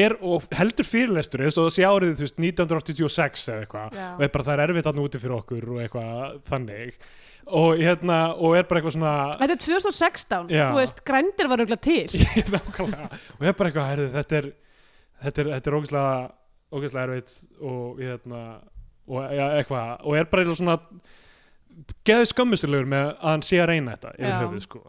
er og heldur fyrirlestur eins og það sé árið þú veist 1986 eða eitthvað Já. og er bara það er erfitt hann úti fyrir okkur og eitthvað þannig og hérna og er bara eitthvað svona Þetta er 2016, Já. þú veist, grændir var auðvitað til nákvæmlega og er bara eitthvað herðu þetta er þetta er, þetta er ógæslega ógæslega erfitt og hérna og ja, eitthvað og er bara eitthvað svona geðu skömmustulegur með að hann sé að reyna þetta yfir Já. höfuð sko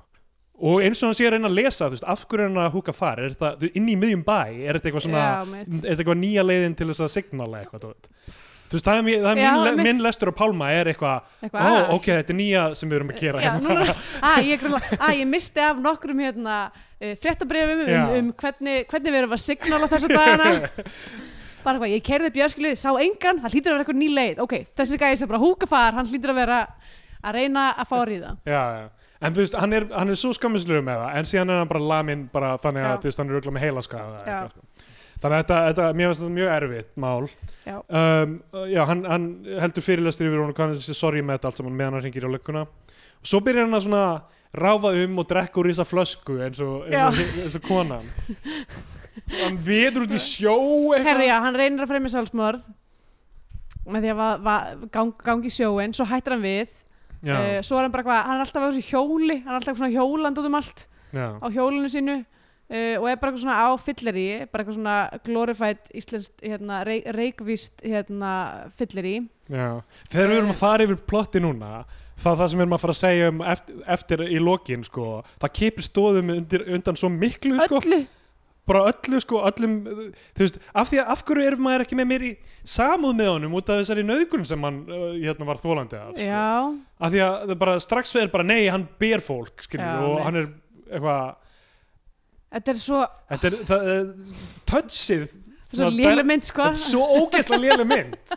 og eins og hann sé að reyna að lesa þú veist, af hverju er hann að húka far er þetta þú- inn í miðjum bæ er þetta eitthvað svona Já, mitt. er þetta eitthvað nýja leiðin til þess að signala eitthvað þú veit. Þú veist, það er, mér- það er Já, minn, le- mitt. minn lestur á Pálma er eitthvað, ó, Eitthvað, ah, ok, þetta er nýja sem við erum að gera hérna." Já, núna, að, ég, grunlega, að, ég misti af nokkrum hérna, uh, fréttabrefum um, Já. um hvernig, hvernig við erum að signala þessa dagana bara hvað, ég kerði upp í öskilið, sá engan hann hlýtur að vera eitthvað ný leið, ok, þessi gæði sem bara húkafar, hann hlýtur að vera að reyna að fá að ríða já, já. En þú veist, hann er, hann er svo skammisluður með það, en síðan er hann bara lamin bara þannig að Já. þú veist, hann er auðvitað með heila skada. Já. sko. Þannig að þetta, þetta, mér finnst þetta mjög erfitt mál. Já. Um, já, hann, hann heldur fyrirlestur yfir hún og hann sé sorgi með þetta allt saman meðan hann hringir á lögguna svo byrjar hann að svona ráfa um og drekka úr þessa flösku eins og, eins og, eins og konan hann vetur út í sjó eitthvað. Herðu já, hann reynir að fremja sjálfsmorð með því að va, va, gang, gangi sjóin svo hættir hann við já, uh, svo er hann bara hvað, hann er alltaf á þessu hjóli hann er alltaf svona hjóland út um allt já, á hjólinu sínu uh, og er bara eitthvað svona á fylleri bara eitthvað svona glorified íslenskt hérna, reik, reikvist hérna, fylleri já. þegar við erum að fara yfir plotti núna það, það sem við erum að fara að segja um eftir, eftir í lokin sko, það kipir stóðum undir, undan svo miklu sko, öllu, bara öllu sko, öllum uh, þú veist, af því að af hverju er maður ekki með mér í samúð með honum út af þessari nöðgun sem hann uh, hérna var þólandi að sko. já af því að það er bara strax er bara nei, hann ber fólk skilur, Já, og mitt. hann er eitthvað þetta er svo, þetta er, það, er touchið þetta er svo Svona lélega ber- mynd sko þetta er svo ógeðslega léleg mynd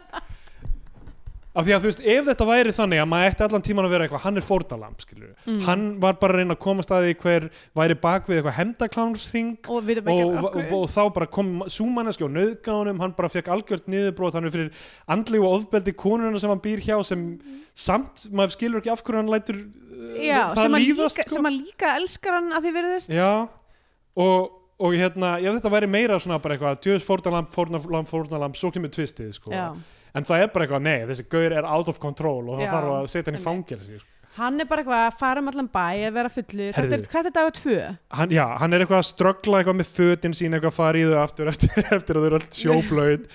af því að þú veist, ef þetta væri þannig að maður ætti allan tíman að vera eitthvað, hann er fórnalamb skilur, Mm. hann var bara að reyna að komast að því hver væri bak við eitthvað hemdaklánsring og við erum og, ekki og, af og, hverju- og þá bara kom súmanneski og nöðgánum, hann bara fekk algjört niðurbrot, hann er fyrir andlegu og ofbeldi konuna sem hann býr hjá sem samt, maður skilur ekki af hverju hann lætur uh, já, sem, að líka, sko. sem að líka elskar hann að því verðist Já, og, og hérna, ef þetta væri meira svona bara eitthvað, djöðs fórnalamb, fórnalamb, fórnalamb, svo kemur tvistið, sko. já. En það er bara eitthvað, nei, þessi gaur er out of control og það Já, þarf að setja hann í einmitt. fangelsi, sko. hann er bara eitthvað að fara um allan bæ að vera fullur, þetta er, Herðu. hvað er dagur tvö? Hann, já, hann er eitthvað að ströggla eitthvað með fötin sín, eitthvað að fara í þau aftur eftir, eftir að þau eru allt sjóblöð.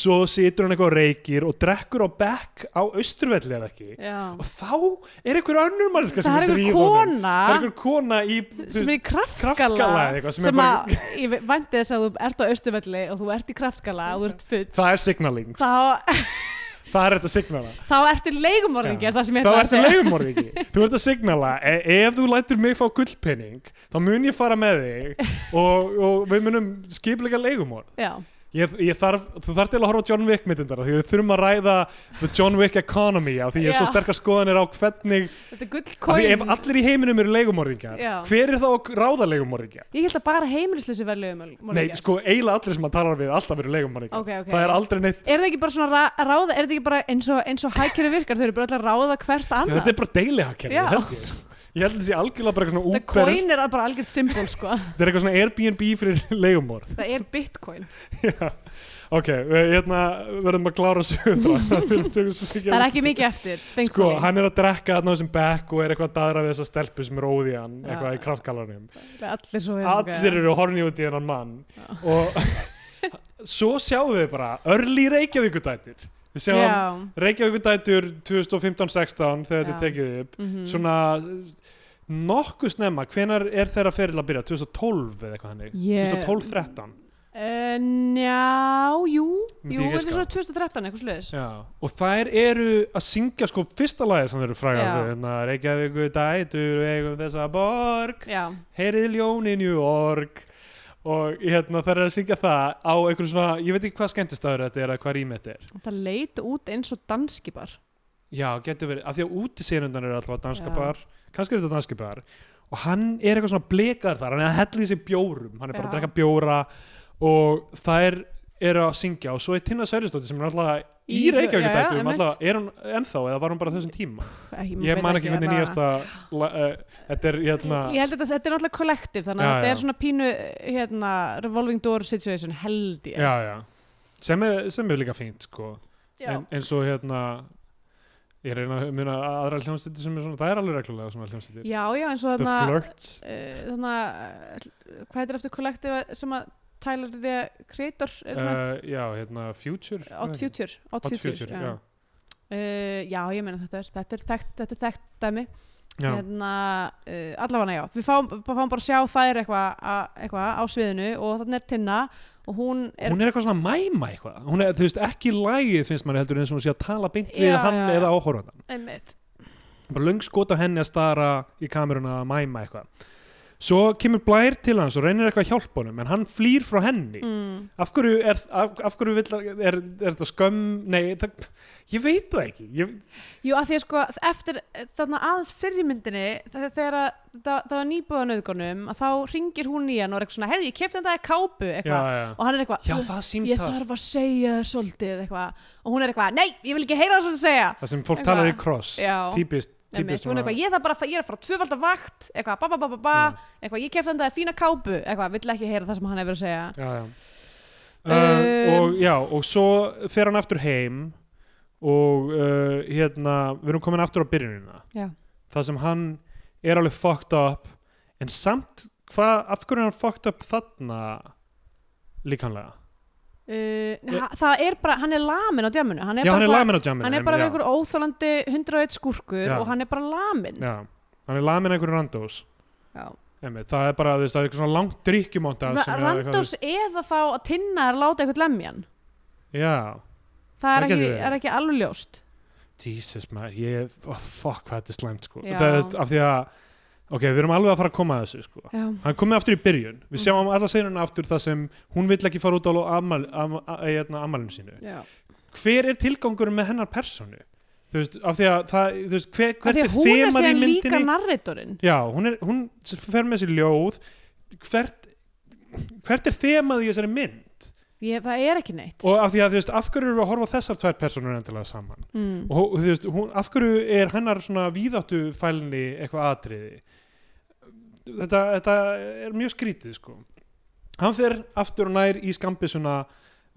svo situr hann eitthvað og reykir og drekkur á bekk á austurvelli eða ekki. Já. Og þá er eitthvað önnur mannska sem það er drífa einhver honum. kona Það er eitthvað kona í, sem þú veist, er í kraftgala, kraftgala eða eitthvað, sem er sem að ég ve- vænti þess að þú ert á austuvelli og þú ert í kraftgala og þú ert full það er signaling. þá, Það er þetta signala. þá ertu leigumorðingjar það sem ég þá ætla að ertu segja leigumorðingi þú ert að signala e ef þú lætur mig fá gullpenning þá mun ég fara með þig og, og við munum skipleika leigumorð já, ég, ég þarf, þú þarf til að horfa á John Wick myndindar því við þurfum að ræða the John Wick economy á því ég er svo Já. sterkar skoðanir á hvernig þetta er af því ef gullkóin allir í heiminum eru leigumorðingar Já. hver er þá að ráða leigumorðingja? ég held að bara heimilisleysi verði Nei, leigumorðingjar sko, eiginlega allir sem maður talar við alltaf eru leigumorðingar Ok, ok. það er aldrei neitt er það ekki bara svona ra- ráða er það ekki bara eins og, eins og hækjari virkar þau eru bara öll að ráða hvert annað þetta er bara deilihagkerfi, Já. held ég sko. ég held að þetta sé algjörlega bara eitthvað þetta svona Uber coin er bara algjört symbol sko. þetta er eitthvað svona Airbnb fyrir leigumorð það er bitcoin Já, ok, við hérna, verðum að klára sögðra það er ekki mikið eftir Sko, thankfully. hann er að drekka þarna á þessum bekk og er eitthvað að daðra við þessa stelpu sem er óði hann Já. eitthvað í kraftkalanum allir svo hérna, Allir eru horni út í hennan mann og svo sjáum við bara örli Reykjavíkudætur Við sjáum já, Reykjavíkudætur 2015-16 þegar þetta er Já. tekið upp mm svona nokkuð snemma, hvenar er þeirra feril að byrja? 2012 eða eitthvað hannig? Ég- 2012-13? Uh, njá, jú, Myndi jú, ég þetta er giska. svona 2013 eitthvað sluðis Já, og þær eru að syngja sko fyrsta lagið sem þeir eru frægar Já. fyrir hérna, Reykjavíku dætur eigum þessa borg Já, heyrið ljóninu org og hérna þær eru að syngja það á einhverjum svona, ég veit ekki hvað skemmtistafur þetta er að hvað rými þetta er þetta leit út eins og danskibar Já, getur verið, af því að úti sérundan eru alltaf danska Já. bar, kannski er þetta danska bar og hann er eitthvað svona blekar þar hann er að hella í sig bjórum, hann er bara að Já. drekka bjóra og þær eru að syngja og svo er Tinna Sverjusdóttir sem er alltaf í Í- Reykjavíku já, já, dætum einmitt. alltaf, er hún ennþá eða var hún bara á þessum tíma? Æ, ég veit hérna. man ekki hvernig alla- nýjasta la- eh, þetta er hérna Ég held að þetta, þetta er náttúrulega kollektiv þannig að Já, þetta er já. svona pínu hérna, revolving door situation held ég já, já. Sem, er, sem er líka fínt sko. en, eins og hérna ég er að reyna að muna aðra hljómsýttir sem er svona, það er alveg reglulega svona hljómsýttir já, já, eins og The þarna Flirts eh, þarna, eh, hvað heitir eftir kollektiv sem að Tyler the Creator er með uh, já, hérna Future Odd Future, Odd Odd Future, Future, já. já. Uh, já, ég meina þetta er þetta er þekkt, þetta er þekkt dæmi Já. hérna, uh, allavega já við fáum, bara- fáum bara að sjá þær eitthvað eitthva á sviðinu og þannig er Tinna og hún er, hún er eitthvað svona mæma eitthvað hún er, þú veist, ekki lagið finnst mann heldur eins og hún sé að tala beint við Já, hann já, já. eða áhorfandan einmitt, bara löng skota henni að stara í kameruna að mæma eitthvað svo kemur Blær til hans og reynir eitthvað að hjálpa honum en hann flýr frá henni mm, af hverju er, af, af hverju vill, er, er þetta skömm nei, það, ég veit það ekki ég, jú að því að sko eftir þarna aðeins fyrir í myndinni þegar þegar að- það, það var nýbúið á nöðgunum að þá ringir hún í hann og er eitthvað svona herri ég kefti þetta að kápu já, eitthvað já. og hann er eitthvað já, það ég símtal þarf að segja þér svolítið eitthvað og hún er eitthvað nei ég vil ekki heyra það svolítið segja það sem fólk Eitthvað. talar í kross Já. típist Einmitt, Típist hún er svona- eitthvað, ég, þarf bara, að fa- ég er að fara tvöfaldar vakt eitthvað, ba ba ba ba ba Mm. eitthvað, ég kefti hann það fína kápu eitthvað, vill ekki heyra það sem hann hefur að segja já, já. Um, Uh, og já, og svo fer hann aftur heim og uh, hérna, við erum komin aftur á byrjunina Já. það sem hann er alveg fucked up en samt, hvað, af hverju er hann fucked up þarna líkanlega? uh, ha- það er bara, hann er lamin á djamunu hann er Já, bara, hann er eitthvað- lamin á jamminu hann er bara einhver óþólandi 101 skúrkur Já. og hann er bara lamin Já, hann er lamin einhverju randós Já. Einmitt, það er bara, þú veist, það er eitthvað svona langt drikkjumónda Ra- Randós eða þá að tinna er að láta eitthvað lemjan Já, það Það er, getur ekki, verið. er ekki alveg ljóst Jesus maður, ég, oh, fuck hvað þetta er slæmt sko Já. það, er- af því að, ok, við erum alveg að fara að koma að þessu sko Já. hann er komið aftur í byrjun Mm. við sjáum alla senuna aftur þar sem hún vill ekki fara út á lo- afmæl, am, a, hérna, afmælinu sínu Já. hver er tilgangurinn með hennar personu þú veist, af því að það, þú veist, hver, Af hvert því er að hún er þemað í síðan líka myndinni narratorinn já, hún, er, hún fer með sér ljóð hvert, hvert er þemað í þessari mynd ég, það er ekki neitt og af því að, þú veist, af hverju erum við að horfa á þessar tvær personur endilega saman mm. og hó- þú veist, hún, af hverju er hennar svona víðáttu fælni eitthvað atriði þetta, þetta er mjög skrítið sko hann fer aftur og nær í skambisuna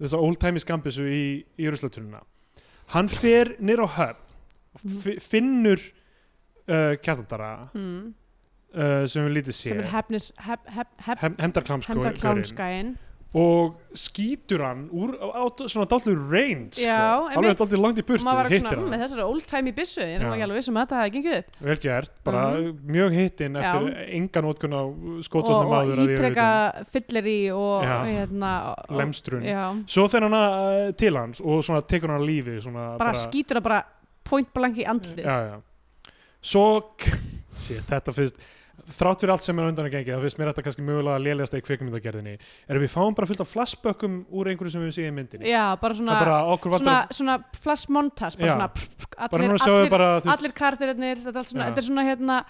þessa old time skambisu í, í Jörgslaturnuna hann fer nýr á höfn fi- finnur uh, kjartandara Mm. uh, sem við lítið sé sem er hefnis hef, hef, hef, hemdarklámskóin hefndarklámskæin og skýtur hann úr á, á svona dálfur range sko. Já, alveg einmitt. dálfur langt í og maður var ekki burtu hittir svona, "Mm, hann með þessari old time í byssu ég er nú Já. ekki alveg vissum að þetta hefði gengið upp Vel gert, bara mjög hittinn eftir engan ótkun á og, skotvarnam Mhm. og áður að ég ítreka fyllir í og Já. hérna og- lemstrun. já, Svo fer hann uh, til hans og svona tekur hann að lífi. Svona, bara, skýtur það bara point blank í andlið Já, já. Svo, shit, þetta finnst, þrátt fyrir allt sem er undan að gengi, það finnst mér þetta kannski mögulega að lélegast í kvikmyndagerðinni, er að við fáum bara fullt af flashbökkum úr einhverju sem við séum í myndinni. Já, bara svona það er bara okkur svona, vantar, svona flash montage bara Já. svona pff, pff, bara allir, núna sjáum við allir, bara, þú veist, allir karþirinnir þetta, er allt svona, Já. þetta er svona hérna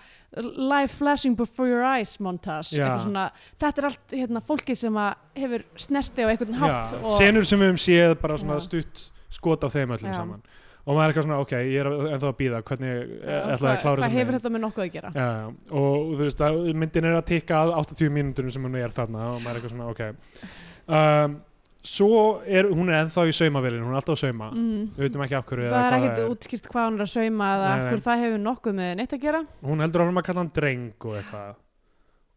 live flashing before your eyes montage Já. eitthvað svona, þetta er allt hérna, fólki sem að hefur snerti á einhvern hátt já, og, senur sem við höfum séð bara svona Já. stutt skot af þeim öllum Já. saman og maður er eitthvað svona, ok, ég er ennþá að býða hvernig og eh, ætlaði að hvað- klára hvað þessa hefur mynd? þetta með nokkuð að gera Já, já, og þú veist, að myndin er að tikka að 80 mínútur sem hún er þarna og maður er eitthvað svona, ok um, svo er, hún er ennþá í saumavélin hún er alltaf að sauma, mm. við veitum ekki af hverju eða það er hvað ekkert útskýrt hvað hann er að sauma eða Nei, af nei. hverju það hefur nokkuð með neitt að gera hún heldur áfram að kalla hann dreng og eitthvað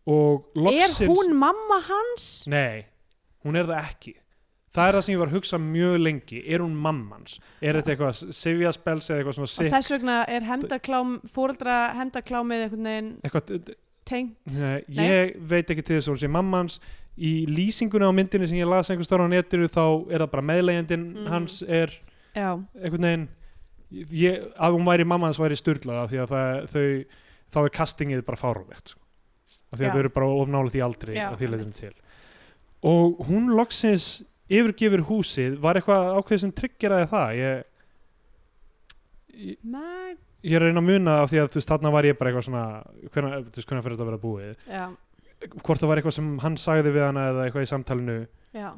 og loksins er hún mamma hans? Nei, hún er það ekki Það er það sem ég var að hugsa mjög lengi Er hún mammans? Er þetta eitthvað sifjaspels eða eitthvað svona og sick? þess vegna er hemdaklám fóreldra hemdaklámið einhvern veginn Eitthvað, tengt nei, ég veit ekki til þess að hún sé mammans Í lýsinguna á myndinni sem ég las einhvers stóra á netinu þá er það bara meðlegjandinn Mm. hans er já, einhvern veginn ég, að hún væri mammans væri styrlaða því að það, þau, þá er castingið bara fáránlegt sko. af því að Já. þau eru bara of nálega því aldrei Já, að því leitum einmitt. til og hún loksins yfirgefur húsið var eitthvað ákveð sem tryggjaraði það ég, ég, nei, ég er að reyna að muna af því að þú veist þarna var ég bara eitthvað svona hvernig, þú veist hvernig fyrir þetta að vera búið já, hvort það var eitthvað sem hann sagði við hana eða eitthvað í samtalinu já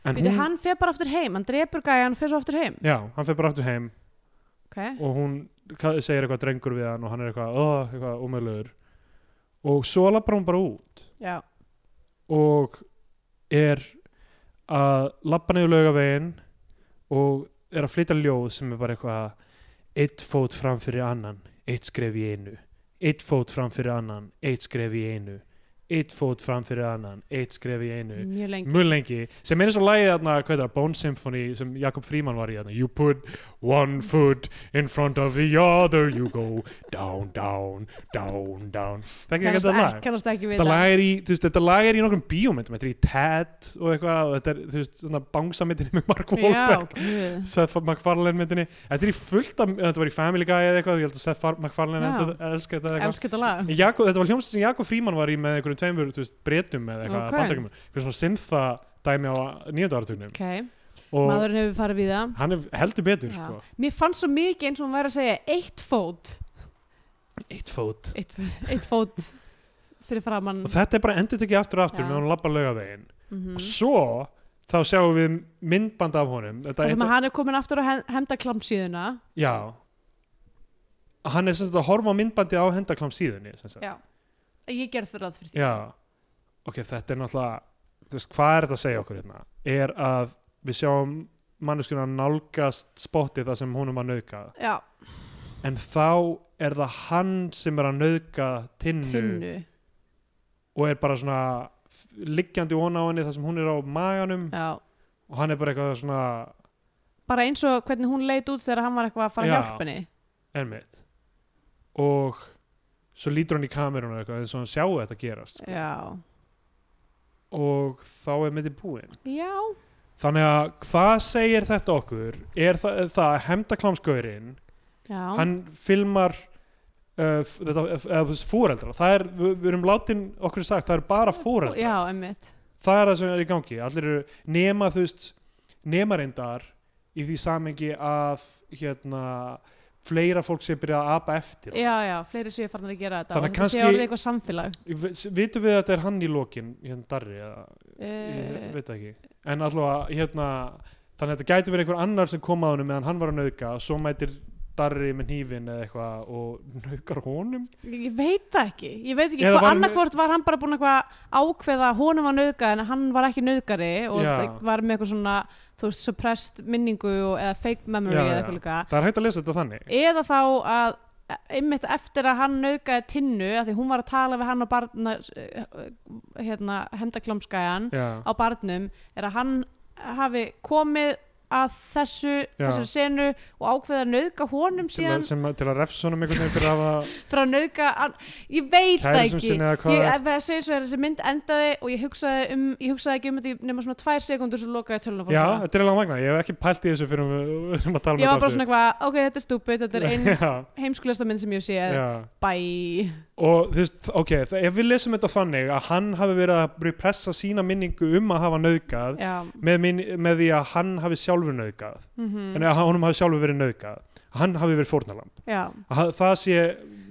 En Býtu, hann fer bara aftur heim, hann drepur gæja hann fer svo aftur heim já, hann fer bara aftur heim ok, og hún ka- segir eitthvað drengur við hann og hann er eitthvað, oh, eitthvað ómöðlegur og svo lappar hún bara út já, og er að lappa niður laugavegin og er að flytja ljóð sem er bara eitthvað eitt fót fram fyrir annan, eitt skref í einu eitt fót fram fyrir annan, eitt skref í einu eitt fót fram fyrir annan, eitt skref í einu mjög lengi mjög lengi, sem er eins og lagið þarna, hvað er það, Bone Symphony sem Jakob Fríman var í þarna You put one foot in front of the other you go down, down, down, down Það er ekki kannast, þetta ekki, lag kannast ekki við Þetta lag er í, þú veist, þetta lag er í nokkrum bíómyndum þetta er í TED og eitthvað og þetta er, þú veist, svona bangsamyndinni með Mark já, Wahlberg guð. Seth MacFarlane myndinni þetta er í fullt af, þetta var í Family Guy eða eitthvað ég held að Seth Far- MacFarlane Já. elska þetta eða eitthvað elskar þetta lag En Jakob, þetta var hljómsið sem Jakob Fríman var í með einhverjum tveimur, þú veist, bretum eða eitthvað Ok. okay. bandakjum, eitthvað svona syntha dæmi á nýjönda áratugnum ok, og maðurinn hefur farið við það hann er heldur betur, Já. sko mér fannst svo mikið eins og hún væri að segja eitt fót Eitt fót. eitt, eitt fót fyrir framann Og þetta er bara endur tekið aftur og aftur Já. meðan hann labba laugavegin Mhm. og svo þá sjáum við myndband af honum þetta Það er sem að eitt, hann er komin aftur á hemdaklamp síðuna já hann er sem sagt að horfa á myndbandi á hendaklam síðunni sem sagt. Já. Ég gerð það ráð fyrir því. Já. ok, þetta er náttúrulega þú veist, hvað er þetta að segja okkur hérna er að við sjáum manneskuna nálgast spotti það sem hún er að nauka Já, en þá er það hann sem er að nauka tinnu, tinnu. og er bara svona f- liggjandi ón á henni þar sem hún er á maganum Já. og hann er bara eitthvað svona Bara eins og hvernig hún leit út þegar hann var eitthvað að fara að Já. hjálpa henni. ermitt og svo lítur hann í kameruna eitthvað eins og hann sjáu þetta gerast Já. og þá er myndin búin Já. þannig að hvað segir þetta okkur er það, það að hemdaklámsgöðurinn Já. hann filmar uh, f- þetta, eða þú veist, fóreldra það er, við, við erum látin okkur sagt það er bara fóreldra Já, emmitt. það er það sem er í gangi allir eru nema þú veist nema reyndar í því samengi að hérna fleira fólk sé byrja að apa eftir honum. Já, já, fleiri séu farnar að gera þetta Þannig og að þetta sé kannski- orðið eitthvað samfélag. Vi- vitum við að þetta er hann í lokin hérna darri eða, ég Uh, veit það ekki en allavega hérna þannig að þetta gæti verið einhver annar sem kom að honum meðan hann var að nauðka og svo mætir darri með hnífin eða eitthvað og nauðkar honum ég veit það ekki. Ég veit ekki Eða hvað var- annarkvort var hann bara búin eitthvað ákveða að honum var nauðgað en að hann var ekki nauðgari og Já. það var með eitthvað svona, þú veist, suppressed minningu og, eða fake memory Já, eða já. eitthvað líka. það er hægt að lesa þetta þannig eða þá að einmitt eftir að hann nauðgæði tinnu að því hún var að tala við hann og barna hérna, hendaklómskæjan já, á barnum er að hann hafi komið að þessu, Já. þessari senu og ákveða að nauðga honum til, að, síðan sem, að- til að refsa honum einhvern veginn fyrir að hafa frá að nauðga, hann- ég veit það kærisum ekki sinni eða ég hvað ef ég segi svo er þessi mynd endaði og ég hugsaði, um, ég hugsaði ekki um þetta í nema svona tvær sekundur svo lokaði tölun og fór Já, svona. þetta er alveg magna, ég hef ekki pælt í þessu fyrir við við erum að tala um ég var bara svona eitthvað, ok, þetta er stúpid þetta er ein já, heimskulegsta mynd sem ég sé já. bæ Og þú veist, ok, þa- ef við lesum þetta þannig að hann hafi verið að repressa sína minningu um að hafa nauðgað já, með, minn, með því að hann hafi sjálfur nauðgað mhm. en að honum hafi sjálfur verið nauðgað hann hafi verið fórnalamb Já, Að ha- það sé eh,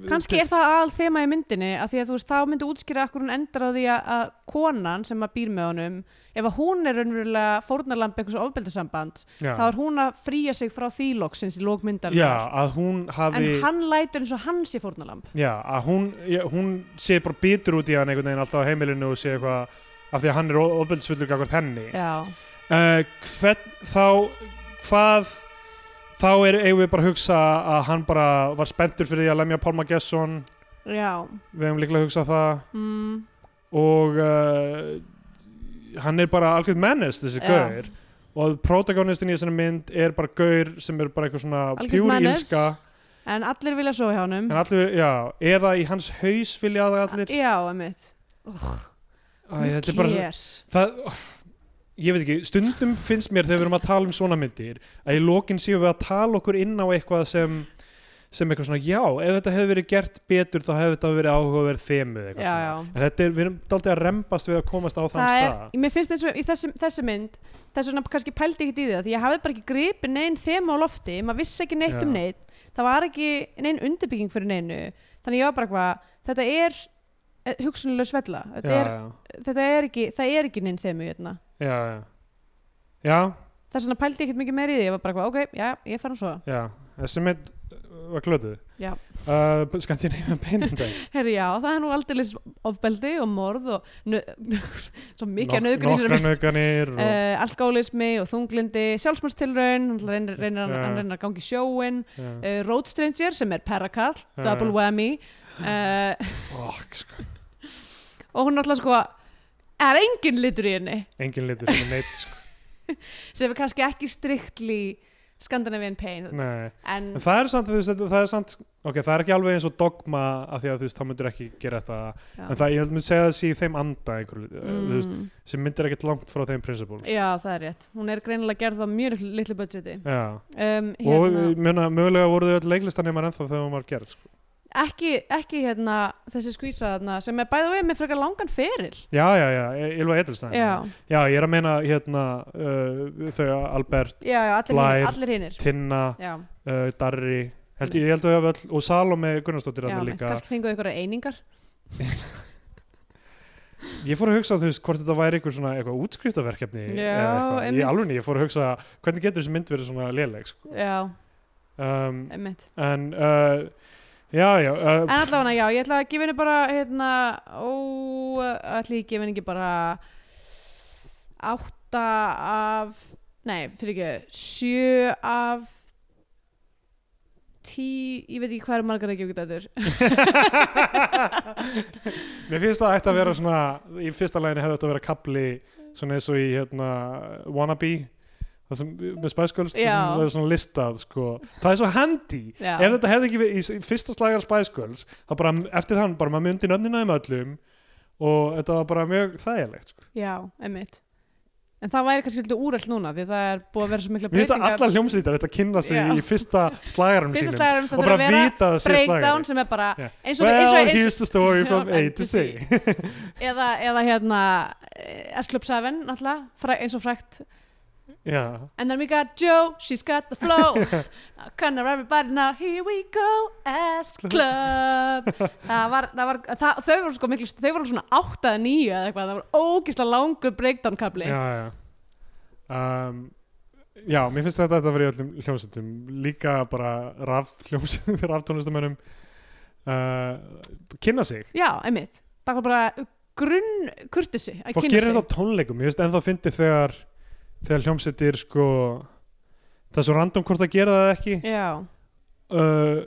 kannski er það aðal þema í myndinni að því að þú veist, þá myndi útskýra akkur hún endar á því að, að konan sem að býr með honum ef að hún er raunverulega fórnarlamb einhvers ofbeldasamband, já, þá er hún að fríja sig frá því loksins í lókmyndar já, að hún en hafi hann lætur eins og hann sé fórnarlamb já, að hún, já, hún sé bara bitur út í hann einhvern veginn alltaf á heimilinu og sé eitthvað af því að hann er ofbeldisfullur gagvart henni Já, uh, hvern, þá hvað þá er eigum við bara að hugsa að hann bara var spenntur fyrir því að lemja Pálma Gesson já við hefum líklega að hugsa það mm, og uh, hann er bara algjörð mennist þessi Já. gaur og protagonistin í þessari mynd er bara gaur sem er bara eitthvað svona Algjört pjúr menace. ílska En allir vilja svo hjá honum en allir, já, eða í hans haus vilja það allir Já, emitt Æ, þetta er bara, það, oh, ég veit ekki, stundum finnst mér þegar við erum að tala um svona myndir að í lokin séum við að tala okkur inn á eitthvað sem sem eitthvað svona, já, ef þetta hefði verið gert betur þá hefði þetta verið áhugaverð þemu eða eitthvað Já, svona. já en þetta er, við erum daldið að rembast við að komast á þann það stað er, mér finnst eins og í þessi, þessi mynd þess vegna kannski pældi ég ekkert í það því ég hafði bara ekki gripið neinn þema á lofti maður vissi ekki neitt Já. um neitt það var ekki neinn undirbygging fyrir neinu þannig ég var bara hvað, þetta er eh, hugsunuleg svella þetta, já, er, þetta er ekki, það er ekki neinn þemu hérna. já, já, já já, þess vegna pældi ég ekkert mikið meira í því ég var bara hvað, ok, já, ég fer hann svo já, þessi mynd uh, var glötuð Já. uh, skannt ég nefna penindags Herri, já, það er nú aldeilis ofbeldi og morð og nö, svo mikið nöðgur í sér nokkra nöðganir og, uh, alkoholismi og þunglindi sjálfsmálstilraun, hann reynir, reynir, hann, Já. hann reynir að gangi sjóin já, uh, Road Stranger sem er Perakall, Já. Double Whammy uh, fuck, sko, og hún náttúrulega sko er engin litur í henni engin litur sem er neitt, sko, sem er kannski ekki striktli Scandinavian Pain nei en Mm. En það er samt, þú veist, þetta- það er samt ok, það er ekki alveg eins og dogma af því að þú veist, þá myndir ekki gera þetta já, en það, ég held myndi segja það sé í þeim anda einhver, mm. þú veist, mm, Eh, sem myndir ekkert langt frá þeim prinsipul já, það er rétt hún er greinilega gerð á mjög litlu- litlu budgeti Já, um, og hérna, mjöna, mögulega voru þau öll leiklistanemar ennþá þegar hún var gerð sko. ekki, ekki hérna þessi skvísa þarna sem er bæða við með frekar langan feril Já, já, já, E- Ylva Edelstein já, já, ég er að meina hérna uh, þau Albert, já, já, allir Blær. hinir- allir hinnir Tinna, já, uh, Darri held, ég held að þau hafa öll, og Salome Gunnarsdóttir já, hann mitt, líka, kannski fenguðu ykkur einingar Ég fór að hugsa þú veist hvort þetta væri einhver svona eitthvað útskriftaverkefni Já, eða eitthvað. Ég einmitt. alveg ég fór að hugsa hvernig getur þessi mynd verið svona léleg sko. já, um, einmitt en uh, já, já, uh, En allavega, já, ég ætla að gefa henni bara hérna, ó, ætli ég gefa henni ekki bara átta af nei, fyrir ekki, sjö af tí, ég veit ekki hvað er margar að gefa þetta öður mér finnst það ætti að vera svona í fyrsta læginu hefði þetta að vera kapli svona eins og í hérna Wannabe það sem, með Spice Girls það Já. sem það er svona listað sko. það er svo handy Já. ef þetta hefði ekki verið í fyrsta slagar Spice Girls þá bara eftir þann bara maður myndi nöfnina um öllum og þetta var bara mjög þægilegt sko. Já, einmitt En það væri kannski svolítið úrælt núna því það er búið að vera svo mikla mér finnst að breytingar allar hljómsýtar þetta kynna sig Já. í fyrsta slagarum Fyrsta sínum slagarum, það og þarf bara að vera vita að það sé breakdown slagari sem er bara Yeah. eins og, eins og, Well, eins here's the story from From A to Z eða, eða hérna eh, S Club 7 náttúrulega, fræ- eins og frækt Já, And then we got Joe, she's got the flow Now come on everybody now, here we go S Club Það var, það var það, þau voru sko miklu, þau voru svona 8 að 9 eða eitthvað, það voru ógislega langur breakdown kapli já, já. Um, já, mér finnst þetta að þetta verið í öllum hljómsveitum líka bara raf hljómsveitum, raf tónlistamönnum uh, kynna sig Já, einmitt, það var bara grunn kurtisi að og kynna gerir sig þetta á tónleikum, ég veist ennþá fyndi þegar þegar hljómsveitir sko það er svo random hvort að gera það eða ekki Já, uh,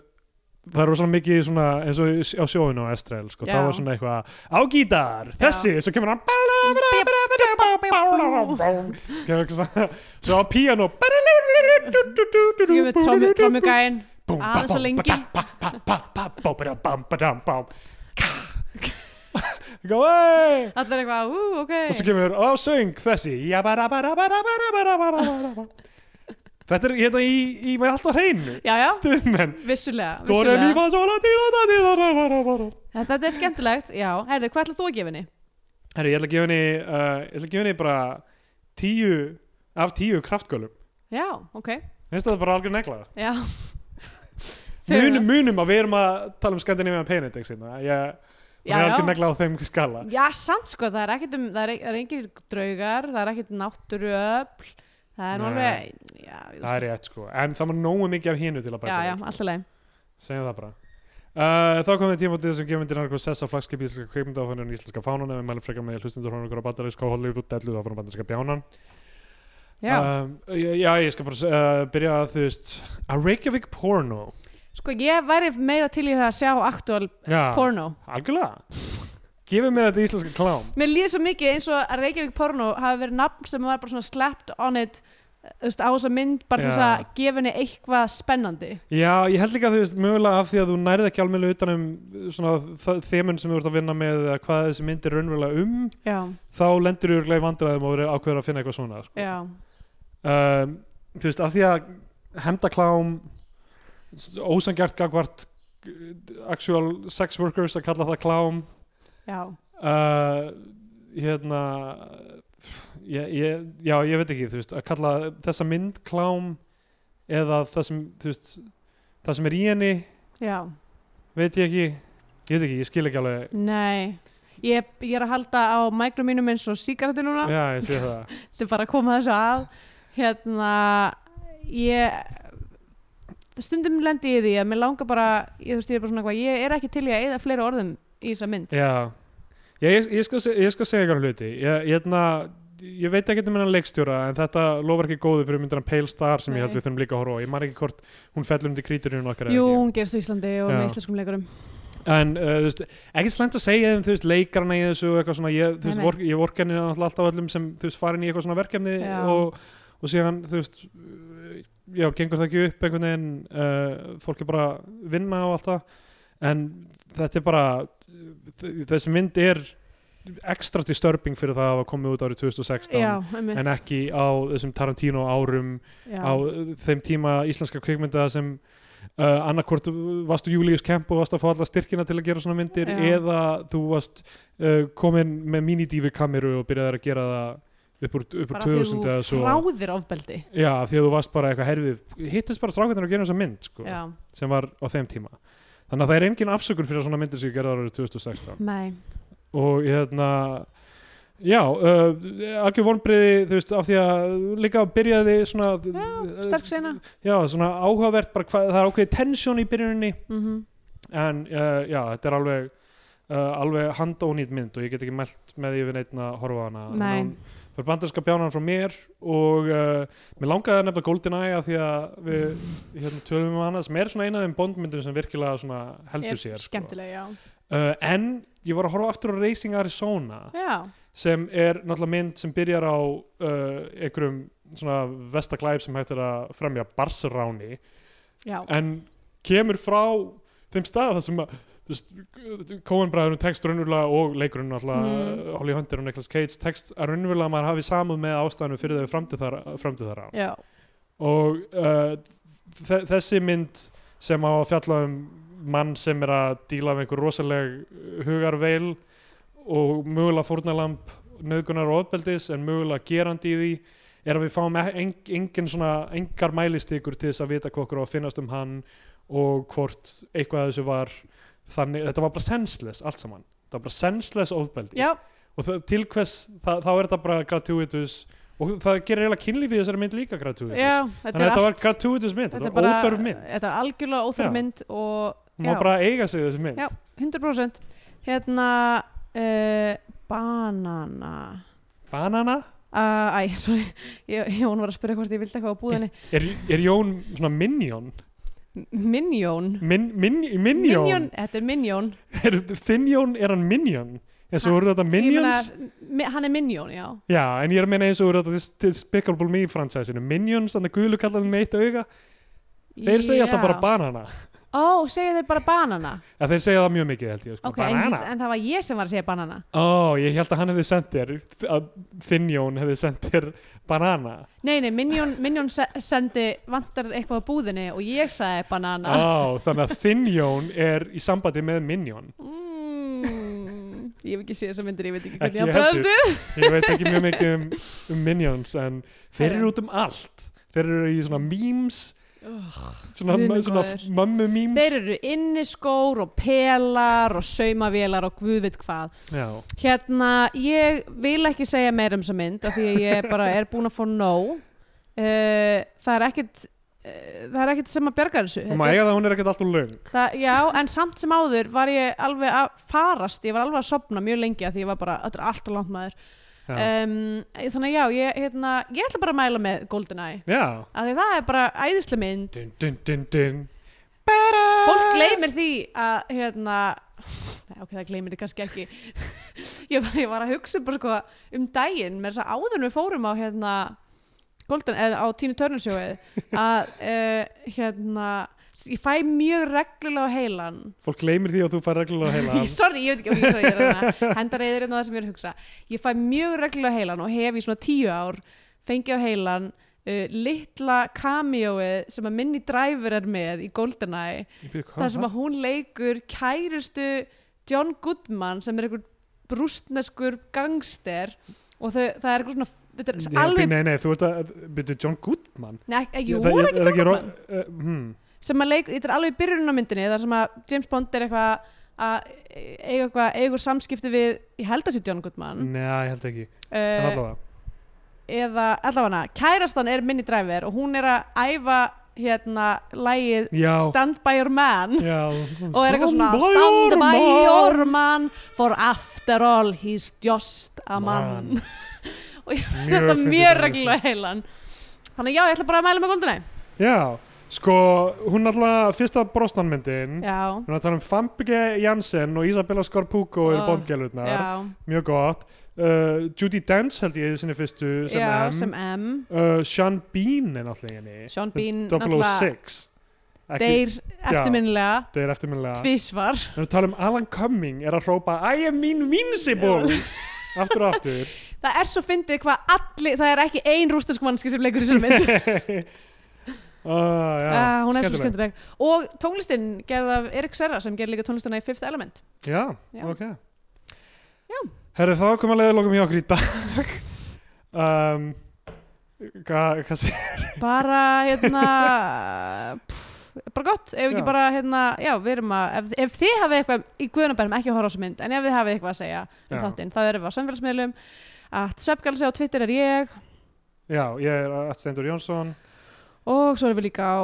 það eru svona mikið svona, eins og í- á sjóinu á Estrel sko, Já. það var svona eitthvað á gítar, þessi, svo kemur hann kemur eitthvað svona- svo á píano ég veit trommu, trommu gæinn aðeins Aðeins og lengi. lengi Go away Allir eitthvað, ú, ok og svo kemur, og söng þessi Jabarabarabarabarabarabarabara. Þetta er hérna í, í með alltaf hreinu Já, já, stuðmenn vissulega, Dórem í vissulega. fasola tíðadadíðadabarabarabara. Þetta er skemmtilegt, já Herðu, hvað ætlaðu þú að gefa henni? Herru, ég ætla að gefa henni uh, ég ætla að gefa henni bara tíu af tíu kraftgölum Já, ok, Finnst það bara algjör negla já Fyrir- munum, munum að við erum að tala um Scandinavian Penedex hérna. ég, hún Já, er já. algjör negla á þeim skala Já, samt sko, það er ekkert um, það er, það er engir draugar, það er ekkert náttúruöfl, það er nú Nei. alveg, já, ég það er rétt sko, en það var nógu mikið af hínu til að já, bæta já, við. sko. alltaf leið. segjum það bara uh, þá komum við tímótið sem gefum til narkoð sess á flagskipi íslenska kveikmyndafanir og íslenska fánan ef við mælum frekar með hlustundur honum ykkur á bandarísk og Hollywood delluð áfann á bandaríska bjánan Já, um, já, já, ég skal bara uh, byrja að þú veist að Reykjavík porno sko, ég væri meira til í það að sjá aktuál já, porno. algjörlega gefum mér þetta íslenska klám Mér líður svo mikið eins og að Reykjavík porno hafi verið nafn sem var bara svona slapped on it, þú veist, á þessa mynd, bara til þess Já. að gefa henni eitthvað spennandi. Já, ég held líka að þú veist mögulega af því að þú nærið ekki alveg utan um svona þ- þemun sem þú ert að vinna með eða hvað þessi mynd er raunverulega um Já, þá lendur þú örugglega í vandræðum og verður ákveður að finna eitthvað svona sko. já, um, Þú veist, af því að hemdaklám ósangjart gagvart eh, actual sex workers að kalla það klám já, uh, hérna ég, ég, já, ég veit ekki þú veist, að kalla þessa mynd klám eða það sem þú veist, það sem er í henni já, veit ég ekki ég veit ekki, ég skil ekki alveg nei. Ég, ég er að halda á mækrum mínum eins og síkartu núna. já, ég sé það þetta er bara að koma þessu að hérna ég stundum lendi ég í því að mér langar bara ég, þú veist, ég, er bara svona, eitthvað, ég er ekki til í að eða fleiri orðum í þessa mynd já, já ég, ég, skal, se- ég skal segja ykkur hluti ég, ég, na, ég veit ekki um hennan leikstjóra en þetta lofar ekki góðu fyrir myndina Pale Star sem ég held Nei. við þurfum líka að horfa á ég man ekki hvort hún fellur undir kríturinn okkar eða Jú, ekki. hún gerst á Íslandi og Já. með íslenskum leikurum en uh, þú veist, ekki slæmt að segja þeim þú veist, leikarana í þessu og eitthvað svona ég, þú Nei, veist, nei. vork, ég vork henni náttúrulega alltaf öllum sem þú veist, farin í eitthvað svona verkefni Já. og, og síðan, þú veist uh, já, gengur það ekki upp einhvern veginn uh, fólk er bara að vinna og allt það en þetta er bara þ- þessi mynd er ekstra disturbing fyrir það að hafa komið út árið 2016 Já, einmitt en ekki á þessum Tarantino árum Já, á uh, þeim tíma íslenska kvikmynda sem uh, annarkvort varstu Július Kemp og varst að fá alla styrkina til að gera svona myndir Já. eða þú varst uh, komin með minidífi kameru og byrjaðir að gera það upp úr, upp úr bara því 2000 eða þú svo fráðir ofbeldi já, því að þú varst bara eitthvað herfið hittist bara strákvæðin að gera þessa mynd sko, Já, sem var á þeim tíma þannig að það er engin afsökun fyrir að svona myndir sem gerðar árið 2016 nei og hérna já, uh, algjör vonbriði þú veist, af því að líka byrjaði svona Já, Sterk sena Já, svona áhugavert bara hvað, það er ákveðið tensjón í byrjuninni mm -hmm. en uh, já, þetta er alveg uh, alveg handónýtt mynd og ég get ekki mælt með því við neitt að horfa á hana En Nei. hún- fyrir bandarska bjánan frá mér og uh, mér langaði að nefna GoldenEye af því að við hérna, tölum um hana sem er svona eina af þeim bondmyndum sem virkilega svona heldur sér sko. uh, skemmtilega, já. en ég var að horfa aftur á Racing Arizona já sem er náttúrulega mynd sem byrjar á uh, einhverjum svona vestaglæp sem hægt er að fremja barsráni já, en kemur frá þeim stað þar sem að þú veist, Coen-bræðurinn tekst raunverulega og leikurinn alltaf, Mm. Holly Hunter og Nicolas Cage tekst að raunverulega að maður hafi samúð með ástæðanum fyrir þau framtíð þar- framtíð þar á já, og uh, þe- þessi mynd sem á að fjalla um mann sem er að díla með einhver rosaleg hugarveil og mögulega fórnalamb nöðgunar og ofbeldis en mögulega gerandi í því er að við fáum en, engin svona, engar mælistikur til þess að vita hvað okkur á að finnast um hann og hvort eitthvað af þessu var þannig, þetta var bara senseless allt saman, þetta var bara senseless ofbeldi já, og það, til hvers, það, þá er þetta bara gratuitous og það gerir eiginlega kynlífið í þessari mynd líka gratuitous já þannig að þetta var allt- gratuitous mynd, þetta var óþörf mynd þetta er algjörlega Já. óþörf mynd og hún var já. bara að eiga sig þessi mynd Já. 100% hérna uh, banana banana, uh, æ, sorry, ég, ég hún var að spyrja hvort ég vildi eitthvað á búðinni er, er Jón svona minjón Minjón min, min, minjón, þetta er Minjón er, finnjón er hann minjón eins og voru þetta minions hann er Minjón, já já, en ég er að meina eins og voru þetta dis- Despicable Me fransæsinu, minions, þannig að gulu kallar með eitt auga, þeir segja alltaf bara banana, ó, segja þeir bara banana ja, þeir segja það mjög mikið held ég, sko, ok, en, banana en það var ég sem var að segja banana Ó, ég held að hann hefði sendt þér að Finnjón hefði sendt þér banana nei, nei, Minjón, Minjón se sendi vantar eitthvað á búðinni og ég sagði banana Ó, þannig að Finnjón er í sambandi með Minjón mm, ég hef ekki séð þessar myndir, ég veit ekki Ekki hvernig ég heldur. bræðast við Ég veit ekki mjög mikið um, um Minions en þeir eru út um allt Þeir eru í svona memes svona, guð minn svona góður. mömmu memes Þeir eru inniskór og pelar og saumavélar og guðvit hvað. Já, Hérna, ég vil ekki segja meira um þessa mynd af því að ég bara er búin að fá nóg. Uh, það er ekkit uh, það er ekkit sem að bjarga þessu. og maður eiga það að hún er ekkert alltaf löng það, já, en samt sem áður var ég alveg að farast, ég var alveg að sopna mjög lengi af því ég var bara, þetta er allt og langt maður. Já, Um, þannig að já, ég, hérna, ég ætla bara að mæla með GoldenEye. Já. Af því það er bara æðislega mynd. Dun, dun, dun, dun. fólk gleymir því að hérna Nei, ok, það gleymir þið kannski ekki ég var, ég var að hugsa bara sko um daginn með þess að áður en við fórum á hérna Golden, eða á Tínu Törnarsjóið að uh, hérna ég fæ mjög reglulega á heilan Fólk gleymir því að þú fær reglulega heila ég, sorry, ég veit ekki, ok, sorry, ég er hérna hendareyðir hérna á það sem ég er að hugsa ég fæ mjög reglulega á heilan og hef í svona tíu ár fengið á heilan uh, litla cameoið sem að minni dræfur er með í GoldenEye þar sem að hún leikur kærustu John Goodman sem er einhver brústneskur gangster og þau, það er eitthvað svona þetta er alveg, Nei, nei, þú ert að Byrju, John Goodman nei, ekki- jú, Það- er er ekki John ro- Goodman eh, hmm. sem að leik, þetta er alveg byrjun á myndinni þar sem að James Bond er eitthvað að eiga eitthvað, eiga úr samskipti við ég held að sé John Goodman Nei, ég held ekki Mm, En uh, allavega eða allavega kærastan er minni dræfir og hún er að æfa hérna lægið Já, Stand by your man já og er eitthvað svona stand by your man for after all he's just a man, og ég Mjög þetta fyndið mjög dæmi, reglulega heilan þannig að já, ég ætla bara að mæla með Goldeneye Já, sko, hún alltaf fyrsta brosnanmyndin já, Hún er að tala um Fambike Jansen og Isabella Scorpuco eru Ah, bondgelurnar, já, mjög gott uh, Judy Dench held ég í sinni fyrstu sem já M sem M uh, Sean Bean er náttúrulega í henni Sean Bean, 006 Ekki, deyr eftirminnilega þeir er eftirminnilega tvísvar Þeir tala um Alan Cumming er að hrópa I am mean vinsibúl Aftur og aftur það er svo fyndið hvað allir það er ekki ein rústinsk mannski sem leikur í sér mynd Ah, já, Ah, hún er svo skemmtileg. skemmtileg og tónlistin gerða af Erik Serra sem gerði líka tónlistina í Fifth Element Já, Já. ok Herri, þá komum að leiða lokum hjá okkur í dag um, Hvað hva segir bara hérna pff, bara gott, ef ekki Já. bara hérna, já, við erum að, ef, ef þið hafið eitthvað í guðunabærum, ekki að horfa á þessu mynd en ef þið hafið eitthvað að segja um Já. þáttinn, þá erum við á samfélagsmiðlum að svefgalsi á Twitter er ég Já, ég er Atstendur Jónsson og svo erum við líka á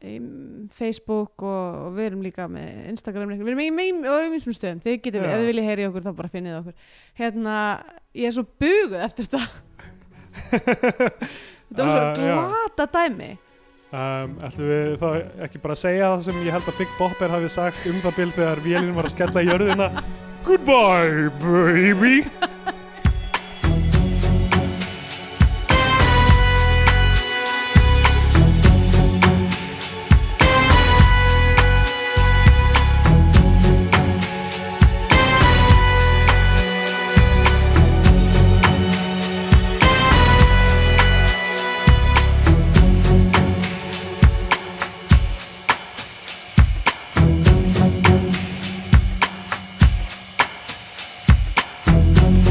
em, Facebook og, og við erum líka með Instagram reikning. við erum í meim og erum í svona stöðum þið getum, Já. ef þið viljið heyri okkur þá bara finnið okkur hérna, ég er svo buguð eftir þetta þetta var svo Ah, já. glata dæmi Um, ætlum við þá ekki bara að segja það sem ég held að Big Bopper hafi sagt um það bil þegar vélinn var að skella í jörðina Goodbye baby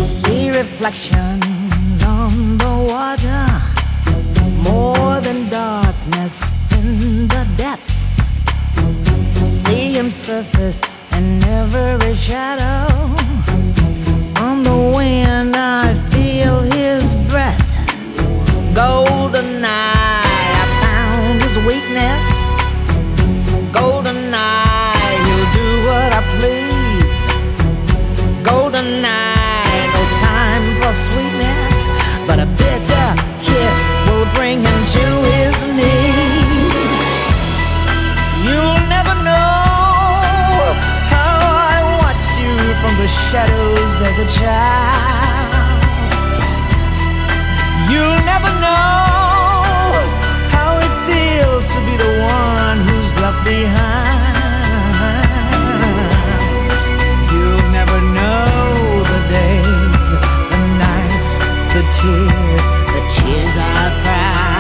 See reflections on the water, more than darkness in the depths. See him surface in every shadow. On the wind, I feel his breath. Golden eye, I found his weakness. Golden eye, he'll do what I please golden eye, no time for sweetness, but a bitter kiss will bring him to his knees. You'll never know how I watched you from the shadows as a child. You'll never know how it feels to be the one who's left behind. You'll never know the days, the nights, the tears, the tears I've cried.